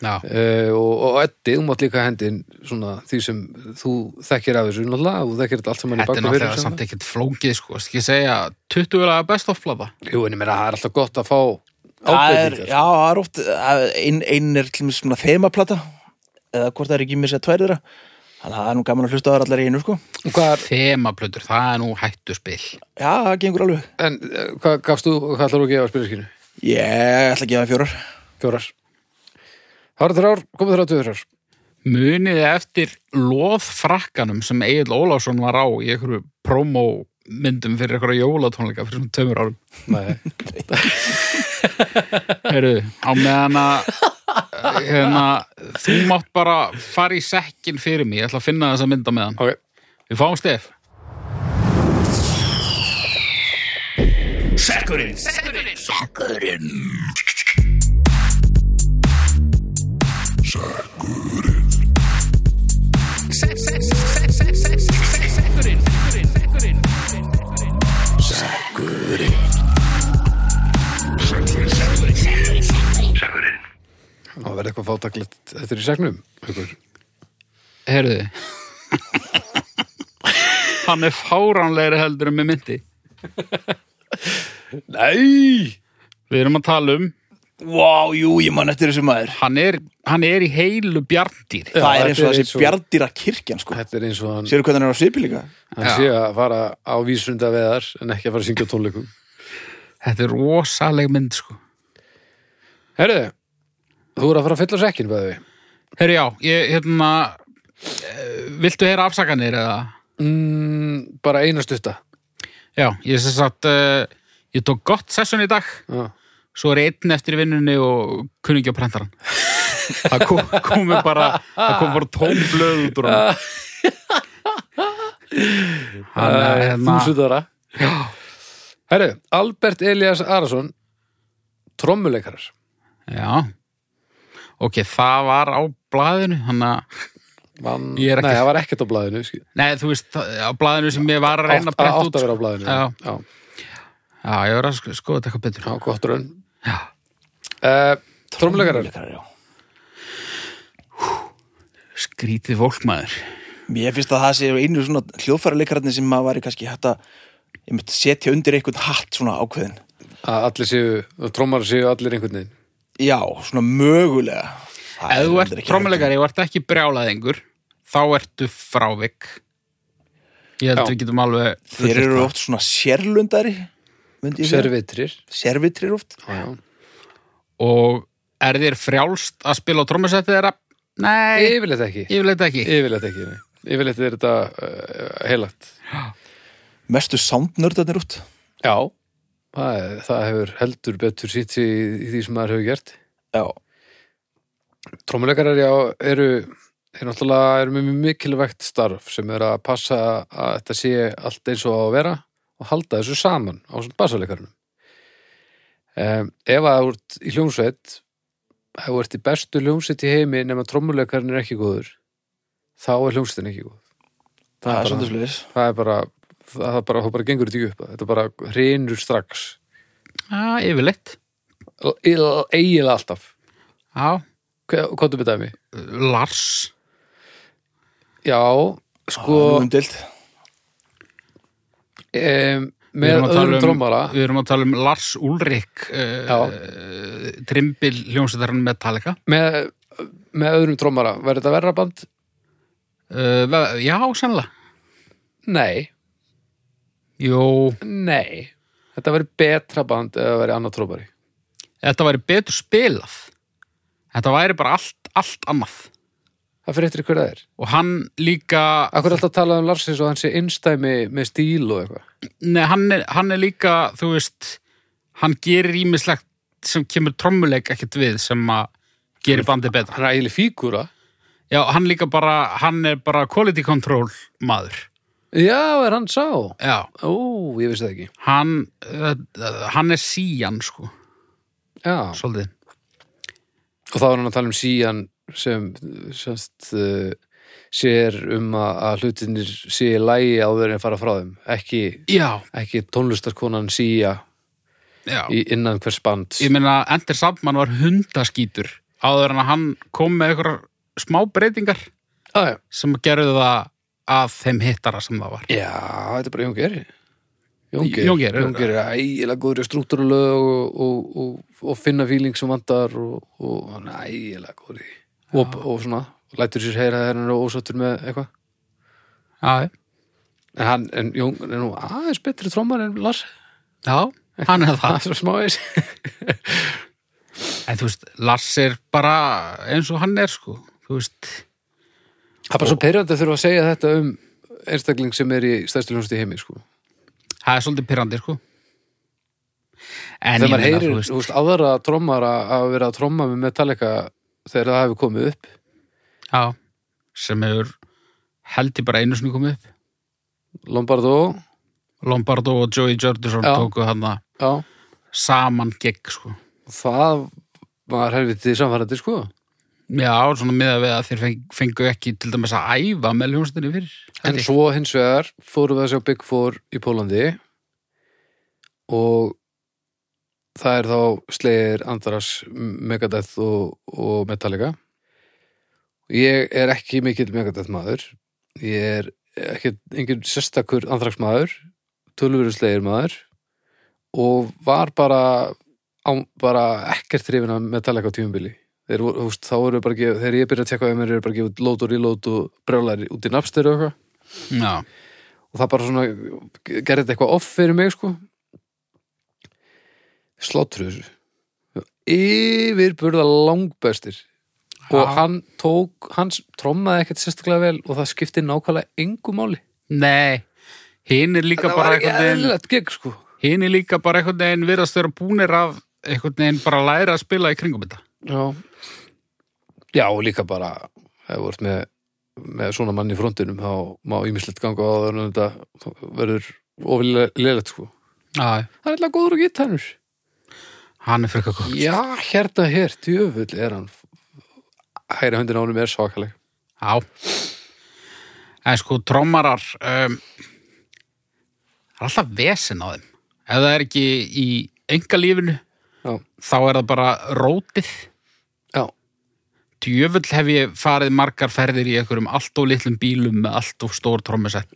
[SPEAKER 1] Já.
[SPEAKER 3] uh, og, og Eddi, þú mátt líka hendin svona því sem þú þekkir af þessu náttúrulega, þú þekkir þetta allt saman í
[SPEAKER 1] Þetta er
[SPEAKER 3] bakgrunni fyrir
[SPEAKER 1] náttúrulega
[SPEAKER 3] sem
[SPEAKER 1] samt ekkert flókið, sko. Skal ég segja, 20 laga best of blada.
[SPEAKER 3] það. Jú, en ég meira, það er alltaf gott að fá
[SPEAKER 2] það er,
[SPEAKER 3] ábeitingar
[SPEAKER 2] já, það er oft það er- ein, ein er til mér svona þemaplata eða hvort það er ekki mér sér tvær þeirra þannig að það er nú gaman að hlusta á þar allar í einu sko
[SPEAKER 3] Og hvað er,
[SPEAKER 1] Þemaplötur, það er nú hættu spil.
[SPEAKER 2] Já, það gengur alveg
[SPEAKER 3] en eh, hvað gafst þú, hvað ætlar þú að gefa spilverkinu?
[SPEAKER 2] Ég ætla að gefa það fjórar
[SPEAKER 3] Fjórar Það eru þrjár, komið þrjár, tjórar
[SPEAKER 1] Muniði eftir loðfrakkanum sem Egil Ólafsson var á í einhverju promómyndum fyrir einhverja jólatónleika fyrir svona tömur árum.
[SPEAKER 3] Nei,
[SPEAKER 1] Heyrðu, á meðan að hérna, þú mátt bara fara í sekkin fyrir mig, ég ætla að finna þessa mynda meðan.
[SPEAKER 3] ok
[SPEAKER 1] Við fáum stef.
[SPEAKER 3] Það verði eitthvað fátaklegt Þetta er í segnum Haukur.
[SPEAKER 1] Heyrðu. Hann er fáránlegri heldur en með myndi.
[SPEAKER 3] Nei
[SPEAKER 1] Við erum að tala um,
[SPEAKER 2] Vá, jú, ég man eftir þessu maður
[SPEAKER 1] hann er, hann er í heilu bjarndýr.
[SPEAKER 2] Það
[SPEAKER 3] þetta
[SPEAKER 2] er eins og
[SPEAKER 3] er eins
[SPEAKER 2] þessi
[SPEAKER 3] og-
[SPEAKER 2] bjardýra kirkjan sko
[SPEAKER 3] Þetta er eins og hann,
[SPEAKER 2] Sérðu hvernig hann er á svipi líka?
[SPEAKER 3] hann
[SPEAKER 1] Já.
[SPEAKER 3] sé að fara á vísunda veðar en ekki að fara að syngja á tónleikum
[SPEAKER 1] Þetta er rosaleg mynd, sko.
[SPEAKER 3] Herðu, þú er að fara að fylla sekkin bæði við
[SPEAKER 1] Heyrðu, já, ég, hérna, eh, viltu heyra afsakanir eða?
[SPEAKER 3] mm, Bara eina stutta
[SPEAKER 1] Já, ég sem sagt, uh, ég tók gott sessun í dag,
[SPEAKER 3] Já.
[SPEAKER 1] svo er einn eftir í vinnunni og kunningi á prentarann. það kom, komi bara, það kom bara tóm blöð út úr hann. hann er hérna,
[SPEAKER 3] Þúsundara Herðu, Albert Elias Arason Trommuleikarar
[SPEAKER 1] já, ok, það var á blaðinu, hann að,
[SPEAKER 3] Van,
[SPEAKER 1] Ég er ekki-
[SPEAKER 3] Nei, það var ekkert á blaðinu skil-
[SPEAKER 1] nei, þú veist, það- á blaðinu sem ég var
[SPEAKER 3] Átt
[SPEAKER 1] að reyna að prenta
[SPEAKER 3] átt
[SPEAKER 1] út.
[SPEAKER 3] að vera á blaðinu
[SPEAKER 1] Já.
[SPEAKER 3] Já.
[SPEAKER 1] Já, ég var að sko, skoða þetta eitthvað betur.
[SPEAKER 3] Já, gott raun
[SPEAKER 1] Já.
[SPEAKER 3] uh, Trommuleikarar
[SPEAKER 2] Leikarar, já
[SPEAKER 1] Skrítið fólkmaður.
[SPEAKER 2] Mér finnst að það sé einu svona hljóðfæralekararnir sem maður væri kannski hægt að ég myndi setja undir einhvern hatt svona ákveðin
[SPEAKER 3] að allir séu, trómar séu allir einhvern veginn
[SPEAKER 2] Já, svona mögulega
[SPEAKER 1] Ef
[SPEAKER 2] Það er
[SPEAKER 1] þú
[SPEAKER 2] reyndar
[SPEAKER 1] ert
[SPEAKER 2] ekki
[SPEAKER 1] trómuleikari og ert ekki brjálaðingur, þá ertu frávik. Ég held
[SPEAKER 3] Já.
[SPEAKER 1] við getum alveg...
[SPEAKER 2] Þeir
[SPEAKER 1] fullyrt
[SPEAKER 2] eru
[SPEAKER 1] það.
[SPEAKER 2] oft svona sérlundari myndi ég segja.
[SPEAKER 3] Servitrir
[SPEAKER 2] Servitrir oft
[SPEAKER 3] Já, já.
[SPEAKER 1] Og er þér frjálst að spila á trómusettið þeirra? Nei,
[SPEAKER 3] Yfirleitt ekki
[SPEAKER 1] yfirleitt ekki.
[SPEAKER 3] Yfirleitt ekki, nei. Yfirleitt er þetta uh, heilagt.
[SPEAKER 2] Mestu soundnördarnir út
[SPEAKER 3] Já. Það, er- það hefur heldur betur sýnt sig í, í því sem maður hefur gert.
[SPEAKER 2] Já,
[SPEAKER 3] Trómuleikarar, já, eru, eru náttúrulega eru með mjög mikilvægt starf sem er að passa að þetta sé allt eins og á að vera og halda þessu saman á svona basalekarunum. Um, ef að þú ert í hljómsveit, ef þú ert í bestu hljómsveit í heimi nema trómuleikarinn er ekki góður, þá er hljómsveitin ekki góð.
[SPEAKER 2] það
[SPEAKER 3] bara-
[SPEAKER 2] er svolítið sliðis
[SPEAKER 3] það er bara það, það bara, það bara gengur þetta ekki upp þetta bara hreinur strax
[SPEAKER 1] Já, yfirleitt.
[SPEAKER 3] Eil- eiginlega alltaf
[SPEAKER 1] Já,
[SPEAKER 3] hvað þú betaði mig?
[SPEAKER 1] Lars.
[SPEAKER 3] já, sko
[SPEAKER 2] Umdild
[SPEAKER 3] um,
[SPEAKER 1] Við
[SPEAKER 3] með
[SPEAKER 1] erum að tala
[SPEAKER 3] öðrum
[SPEAKER 1] um-
[SPEAKER 3] trómara
[SPEAKER 1] Við erum að tala um Lars Ulrik, uh,
[SPEAKER 3] Já.
[SPEAKER 1] uh, trimbil hljómsveitarinn Metallica.
[SPEAKER 3] með, með öðrum trómara verður þetta verra band?
[SPEAKER 1] Uh, ve- já, sannlega.
[SPEAKER 3] nei,
[SPEAKER 1] Jó,
[SPEAKER 3] nei þetta verður betra band eða verður annar trómari
[SPEAKER 1] þetta væri betur spilað. Þetta væri bara allt, allt annað.
[SPEAKER 3] það fyrir eftir hverja það er
[SPEAKER 1] Og hann líka
[SPEAKER 3] akkur er alltaf að tala um Lars eins og hann sé innstæmi með stíl og eitthvað
[SPEAKER 1] Nei, hann er, hann er líka, þú veist, hann gerir ímislegt sem kemur trommuleik ekkert við sem að gerir bandið betra.
[SPEAKER 3] Hann er eiginlega fígúra.
[SPEAKER 1] Já, hann líka bara, hann er bara quality control maður.
[SPEAKER 3] Já, er hann sá?
[SPEAKER 1] Já,
[SPEAKER 3] Ó, ég vissi það ekki.
[SPEAKER 1] hann, uh, uh, hann er síjan, sko,
[SPEAKER 3] Já.
[SPEAKER 1] svolítið.
[SPEAKER 3] Og þá er hann að tala um síjan sem semst, uh, sér um að, að hlutinir sé í lægi áður en fara frá þeim. Ekki,
[SPEAKER 1] Já,
[SPEAKER 3] ekki tónlistarkonan síja
[SPEAKER 1] já.
[SPEAKER 3] í, innan hvers band.
[SPEAKER 1] Ég meina, Ender Sandman var hundaskítur áður en að hann kom með einhverjar smá breytingar
[SPEAKER 3] ah, já.
[SPEAKER 1] sem gerðu það að þeim hittara sem það var.
[SPEAKER 3] já, þetta er bara Jón Geri. Jón Geri.
[SPEAKER 1] Jón Geir er-
[SPEAKER 3] Jón Geir er ægilega góður í strúktúrulög og, og, og, og finna fíling sem vantar og, og hann er ægilega góður í. Og, og svona, lætur sér heyra þegar hann er ósáttur með eitthvað.
[SPEAKER 1] Já,
[SPEAKER 3] En hann, en Jón, er nú aðeins betri trómar en Lars.
[SPEAKER 1] já, hann er það.
[SPEAKER 3] Það er svo smávegis.
[SPEAKER 1] En þú veist, Lars er bara eins og hann er, sko. Þú veist,
[SPEAKER 3] Það er bara svo perjandi að þurfa að segja þetta um einstakling sem er í stærstu hljónstu heimi, sko.
[SPEAKER 1] það er svolítið pyrrandi, sko.
[SPEAKER 3] Þegar
[SPEAKER 1] En ég
[SPEAKER 3] maður
[SPEAKER 1] meina,
[SPEAKER 3] heyrir,
[SPEAKER 1] þú
[SPEAKER 3] þú
[SPEAKER 1] veist,
[SPEAKER 3] veist, aðra trómar að vera að tróma með Metallica þegar það hefur komið upp.
[SPEAKER 1] já, sem hefur held ég bara einu sinni komið upp.
[SPEAKER 3] Lombardo,
[SPEAKER 1] Lombardo og Joey Jordison
[SPEAKER 3] Já.
[SPEAKER 1] tóku hann
[SPEAKER 3] já,
[SPEAKER 1] saman gegg, sko.
[SPEAKER 3] það var helvitið samfærandi, sko.
[SPEAKER 1] Já, svona miða við að þeir feng, fengu ekki til dæmis að æfa með hljónstinni fyrir.
[SPEAKER 3] En svo hins vegar fórum við að sjá Big Four í Pólandi og það er þá slegir Andras Megadeth og, og Metallica. Ég er ekki mikill Megadeth maður. Ég er ekki engin sérstakur Andrax maður, tölvöru slegir maður og var bara, á, bara ekkert hrifin að Metallica á tíumbili. Þeir, voru- þú veist, þá eru bara, að gefa- þegar ég byrja að tekka að mér eru bara að gefa út lót og rílót og brjálari út í napstur og eitthvað
[SPEAKER 1] Já,
[SPEAKER 3] og það bara svona gerði þetta eitthvað off fyrir mig sko sláttur þessu yfirburða langbestir og
[SPEAKER 1] Já.
[SPEAKER 3] hann tók hans trommaði ekkert sérstaklega vel og það skipti nákvæmlega engu máli
[SPEAKER 1] nei, hinn er líka
[SPEAKER 3] það
[SPEAKER 1] bara
[SPEAKER 3] var ekki
[SPEAKER 1] einhvern veginn,
[SPEAKER 3] eðlilegt gegn sko
[SPEAKER 1] hinn er líka bara einhvern veginn virðast vera búnir af einhvern veginn bara að læra að spila í kringum þetta.
[SPEAKER 3] já, já og líka bara hefur vart með, með svona mann í frontinum þá má ímislegt ganga á það en þetta verður ofilegt sko
[SPEAKER 1] Já,
[SPEAKER 3] hann er alltaf góður og gittanur
[SPEAKER 1] hann er frekar góð.
[SPEAKER 3] Já, hérna hér, djöfull er hann hægri höndin á honum er svakaleg
[SPEAKER 1] Já. En sko, trommarar, um, það er alltaf vesen á þeim. Ef það er ekki í engalífinu,
[SPEAKER 3] Já,
[SPEAKER 1] þá er það bara rótið.
[SPEAKER 3] já,
[SPEAKER 1] Djöfull hef ég farið margar ferðir í einhverjum allt og litlum bílum með allt og stór trommusett.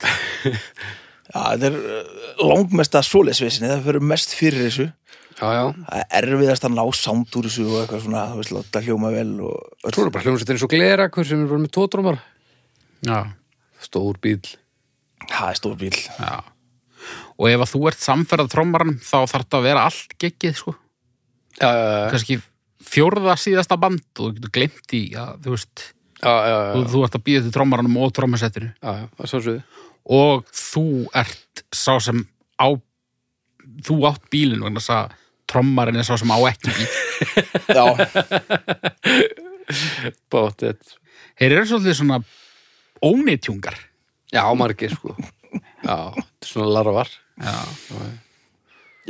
[SPEAKER 2] Já, þetta er uh, langmesta svoleiðsvesinni, það fyrir mest fyrir þessu.
[SPEAKER 3] já, já
[SPEAKER 2] Það er erfiðast að ná samt úr þessu og eitthvað svona, þú veist, láta hljóma vel og
[SPEAKER 3] Svo er bara hljómsveitin svo glera, hver sem er bara með tótrómar
[SPEAKER 1] Já.
[SPEAKER 3] Stór bíl
[SPEAKER 2] það er stór bíl.
[SPEAKER 1] Já. Og ef að þú ert samferða trommarann þá þarf það að vera allt geggið, sko.
[SPEAKER 3] Já, já, já,
[SPEAKER 1] Kanski fjórða síðasta band og þú getur glemt í, já, þú veist,
[SPEAKER 3] já, já, já,
[SPEAKER 1] þú, þú ert að býða til trommaranum og trommasettinu.
[SPEAKER 3] já, já, já svo svo
[SPEAKER 1] Og þú ert sá sem á, þú átt bílinn vegna þess að trommarinn er sá sem á ekki bíl.
[SPEAKER 2] Já,
[SPEAKER 3] Bátt eitt
[SPEAKER 1] Þeir eru svolítið svona ónýtjungar.
[SPEAKER 3] Já, margir, sko Já, þetta er svona larvar
[SPEAKER 1] Já.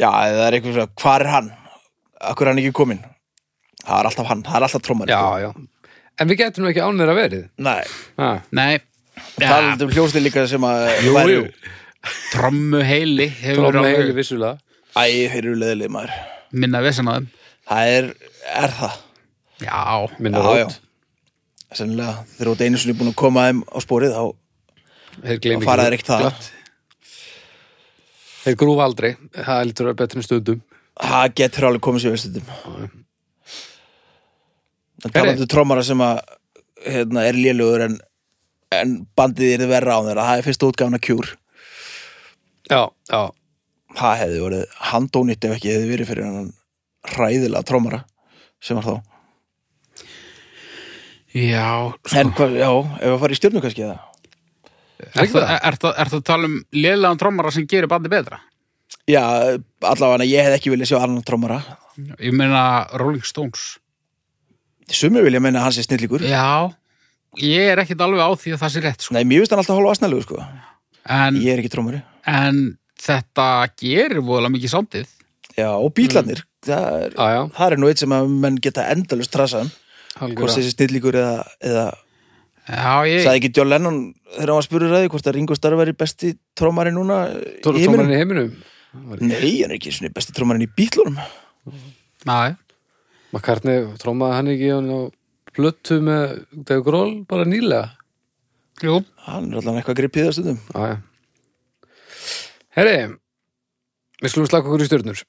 [SPEAKER 2] já, það er eitthvað svona, hvar er hann? Akkur er hann ekki kominn? Það er alltaf hann, það er alltaf trommar.
[SPEAKER 3] Já, já En við getum nú ekki án þeirra verið
[SPEAKER 2] Nei,
[SPEAKER 3] Já,
[SPEAKER 1] Nei,
[SPEAKER 2] það
[SPEAKER 1] ja,
[SPEAKER 2] er um hljóstin líka sem að
[SPEAKER 3] jú,
[SPEAKER 2] væru-
[SPEAKER 3] jú
[SPEAKER 1] trommuheili hefur
[SPEAKER 3] Tróma
[SPEAKER 1] alveg
[SPEAKER 3] heili vissulega
[SPEAKER 2] Æ, þeir eru leðileg maður.
[SPEAKER 1] minna vesen á þeim.
[SPEAKER 2] Það er, er það.
[SPEAKER 1] Já,
[SPEAKER 3] Minna
[SPEAKER 2] Já,
[SPEAKER 3] rót,
[SPEAKER 2] Sennilega, þeir eru út einu sinni búin að koma þeim á spórið, þá
[SPEAKER 3] þeir gleymi
[SPEAKER 2] Þá fara þeir ekki það.
[SPEAKER 3] glatt. Þeir grúfa aldrei, það lítur að vera betri en stundum
[SPEAKER 2] Það getur alveg komið sér veistundum En
[SPEAKER 3] Herri.
[SPEAKER 2] talandu trómara sem að hérna, er lélugur en, en bandið er verra á þeirra það er fyrst útgáfna kjúr
[SPEAKER 3] Já, já,
[SPEAKER 2] það hefði verið handónýtt ef ekki hefði verið fyrir hann hræðilega trómara sem var þá
[SPEAKER 1] já,
[SPEAKER 2] En hvað, já, ef að fara í stjörnu kannski það
[SPEAKER 1] Er
[SPEAKER 3] Ekki
[SPEAKER 1] það,
[SPEAKER 3] það?
[SPEAKER 1] er, það, er það að tala um liðlegan trommara sem gerir bandi betra?
[SPEAKER 2] Já, allavega ég hefði ekki viljað sjá annan trómara
[SPEAKER 1] Ég meina Rolling Stones
[SPEAKER 2] Sumi vilja menna að hann sé snilligur.
[SPEAKER 1] Já, ég er ekkit alveg á því að það sé rétt, sko.
[SPEAKER 2] Nei, mér finnst hann alltaf hálfa asnalegu, sko.
[SPEAKER 1] En,
[SPEAKER 2] Ég er ekki trómari.
[SPEAKER 1] en þetta gerir voðalega mikið sándið.
[SPEAKER 2] Já, og bílarnir, það, er,
[SPEAKER 3] Já, já,
[SPEAKER 2] það er nú eitt sem að menn geta um. endalust trasaðan. Hvort
[SPEAKER 3] algjörða
[SPEAKER 2] þessi snilligur eða, eða
[SPEAKER 1] Já, ég...
[SPEAKER 2] sagði ekki John Lennon þegar hann var spurður að því hvort að Ringo Starr væri besti trómari núna í
[SPEAKER 3] Tómarinn í heiminum Það var ekki-
[SPEAKER 2] Nei, hann er ekki svona besti trómarinn í bílunum.
[SPEAKER 1] Nei,
[SPEAKER 3] McCartney trómaði hann ekki hann á plötu með Dave Grohl bara nýlega
[SPEAKER 1] jú,
[SPEAKER 2] Hann er allan eitthvað gripið að stundum.
[SPEAKER 3] Aja. Herri við skulum slaka okkur í stjörnur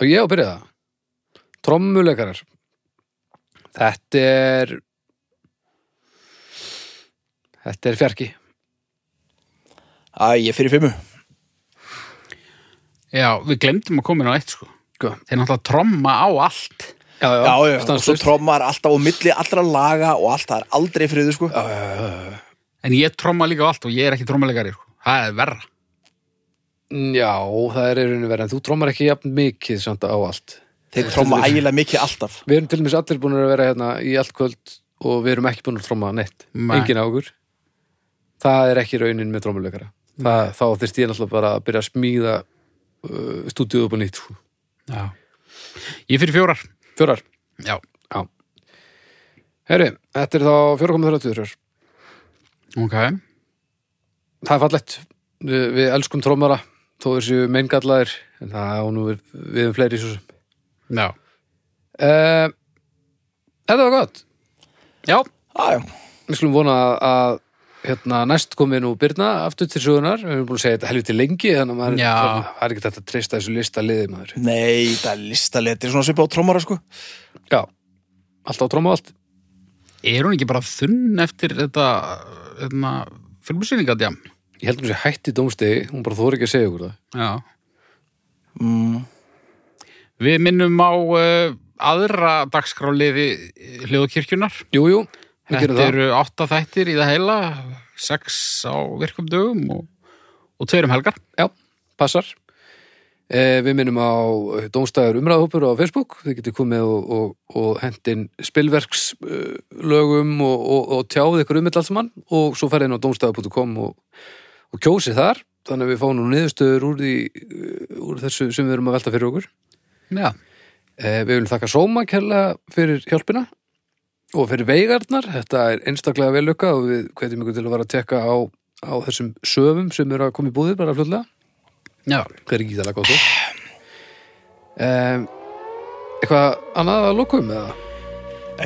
[SPEAKER 3] og ég á að byrja það trommuleikarar þetta er þetta er fjarki
[SPEAKER 2] Æ, ég er fyrir fimmu.
[SPEAKER 1] já, við glemdum að koma inn á eitt, sko.
[SPEAKER 3] Hvað?
[SPEAKER 1] Þeir náttúrulega tromma á allt.
[SPEAKER 3] já, já,
[SPEAKER 2] Já, já, og svo
[SPEAKER 3] stanslaust.
[SPEAKER 2] trommar alltaf á milli allra laga og allt það er aldrei friður, sko.
[SPEAKER 3] já, já, já, já.
[SPEAKER 1] En ég tromma líka á allt og ég er ekki trommalegari, sko. Það er verra.
[SPEAKER 3] já, það er í rauninu verið en þú trommar ekki jafn mikið samt á allt
[SPEAKER 2] Þeir tromma ægilega mikið alltaf.
[SPEAKER 3] við erum til dæmis allir búin að vera hérna í allt kvöld og við erum ekki búin að tromma neitt
[SPEAKER 1] Nei.
[SPEAKER 3] engin á okkur það er ekki raunin með trommuleikara það, þá þyrst ég náttúrulega bara að byrja að smíða uh, stúdíu upp á nýtt sko.
[SPEAKER 1] Já. Ég er fyrir fjórar.
[SPEAKER 3] fjórar,
[SPEAKER 1] Já,
[SPEAKER 3] já herru, þetta er þá 4,34
[SPEAKER 1] ok.
[SPEAKER 3] það er fallett, við, við elskum trommara þó þessu meingallaðir en það á nú við, við um fleiri svo sem
[SPEAKER 1] Já.
[SPEAKER 3] uh, þetta var gott
[SPEAKER 1] Já,
[SPEAKER 2] Já, já,
[SPEAKER 3] við skulum vona að, að hérna, næst komi nú Birna aftur til sögunar, við erum búin að segja þetta helviti lengi þannig að maður
[SPEAKER 1] Já.
[SPEAKER 3] svona- það er ekki þetta að treysta þessu lista liði maður
[SPEAKER 2] nei, það er listalegt, þetta er svona svipað á trommara, sko.
[SPEAKER 3] já, alltaf tróma og allt
[SPEAKER 1] er hún ekki bara þunn eftir þetta, hérna, þetta filmusýningadjám?
[SPEAKER 3] ég held hún sé hætti dómstegi, hún bara þóri ekki að segja okkur það
[SPEAKER 1] Já.
[SPEAKER 2] Mm.
[SPEAKER 1] Við minnum á uh, aðra dagskráliði hljóðkirkjunar.
[SPEAKER 3] jú, jú, við gerum
[SPEAKER 1] Þetta
[SPEAKER 3] það
[SPEAKER 1] eru átta þættir í það heila, sex á virkum dögum og, og tveirum helgar.
[SPEAKER 3] já, passar eh, við minnum á eh, dómstæður umræðhópur á Facebook, þið getur komið og, og, og hendin spilverks eh, lögum og, og, og tjáð ykkur um þetta allt saman og svo farið inn á dómstæður.com og, og kjósið þar þannig að við fáum nú niðurstöður úr, því, eh, úr þessu sem við erum að velta fyrir okkur
[SPEAKER 1] Já.
[SPEAKER 3] eh, við viljum þakka Sóma kærlega fyrir hjálpina og fyrir veigarnar, þetta er einstaklega vellukka og við hvetjum ykkur til að vera að tekka á, á þessum söfum sem eru að koma í búðið bara fljóðlega
[SPEAKER 1] Já.
[SPEAKER 3] Hver er gítalega góð svo? Um, eitthvað annað að lokum eða?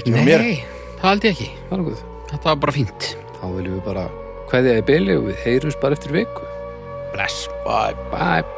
[SPEAKER 2] Ekki með mér.
[SPEAKER 1] það held ég ekki.
[SPEAKER 3] Það er nokkuð.
[SPEAKER 1] Þetta var bara fínt.
[SPEAKER 3] Þá viljum við bara kveðja í byli og við heyrums bara eftir viku.
[SPEAKER 1] Bless.
[SPEAKER 2] Bæ.
[SPEAKER 3] Bye!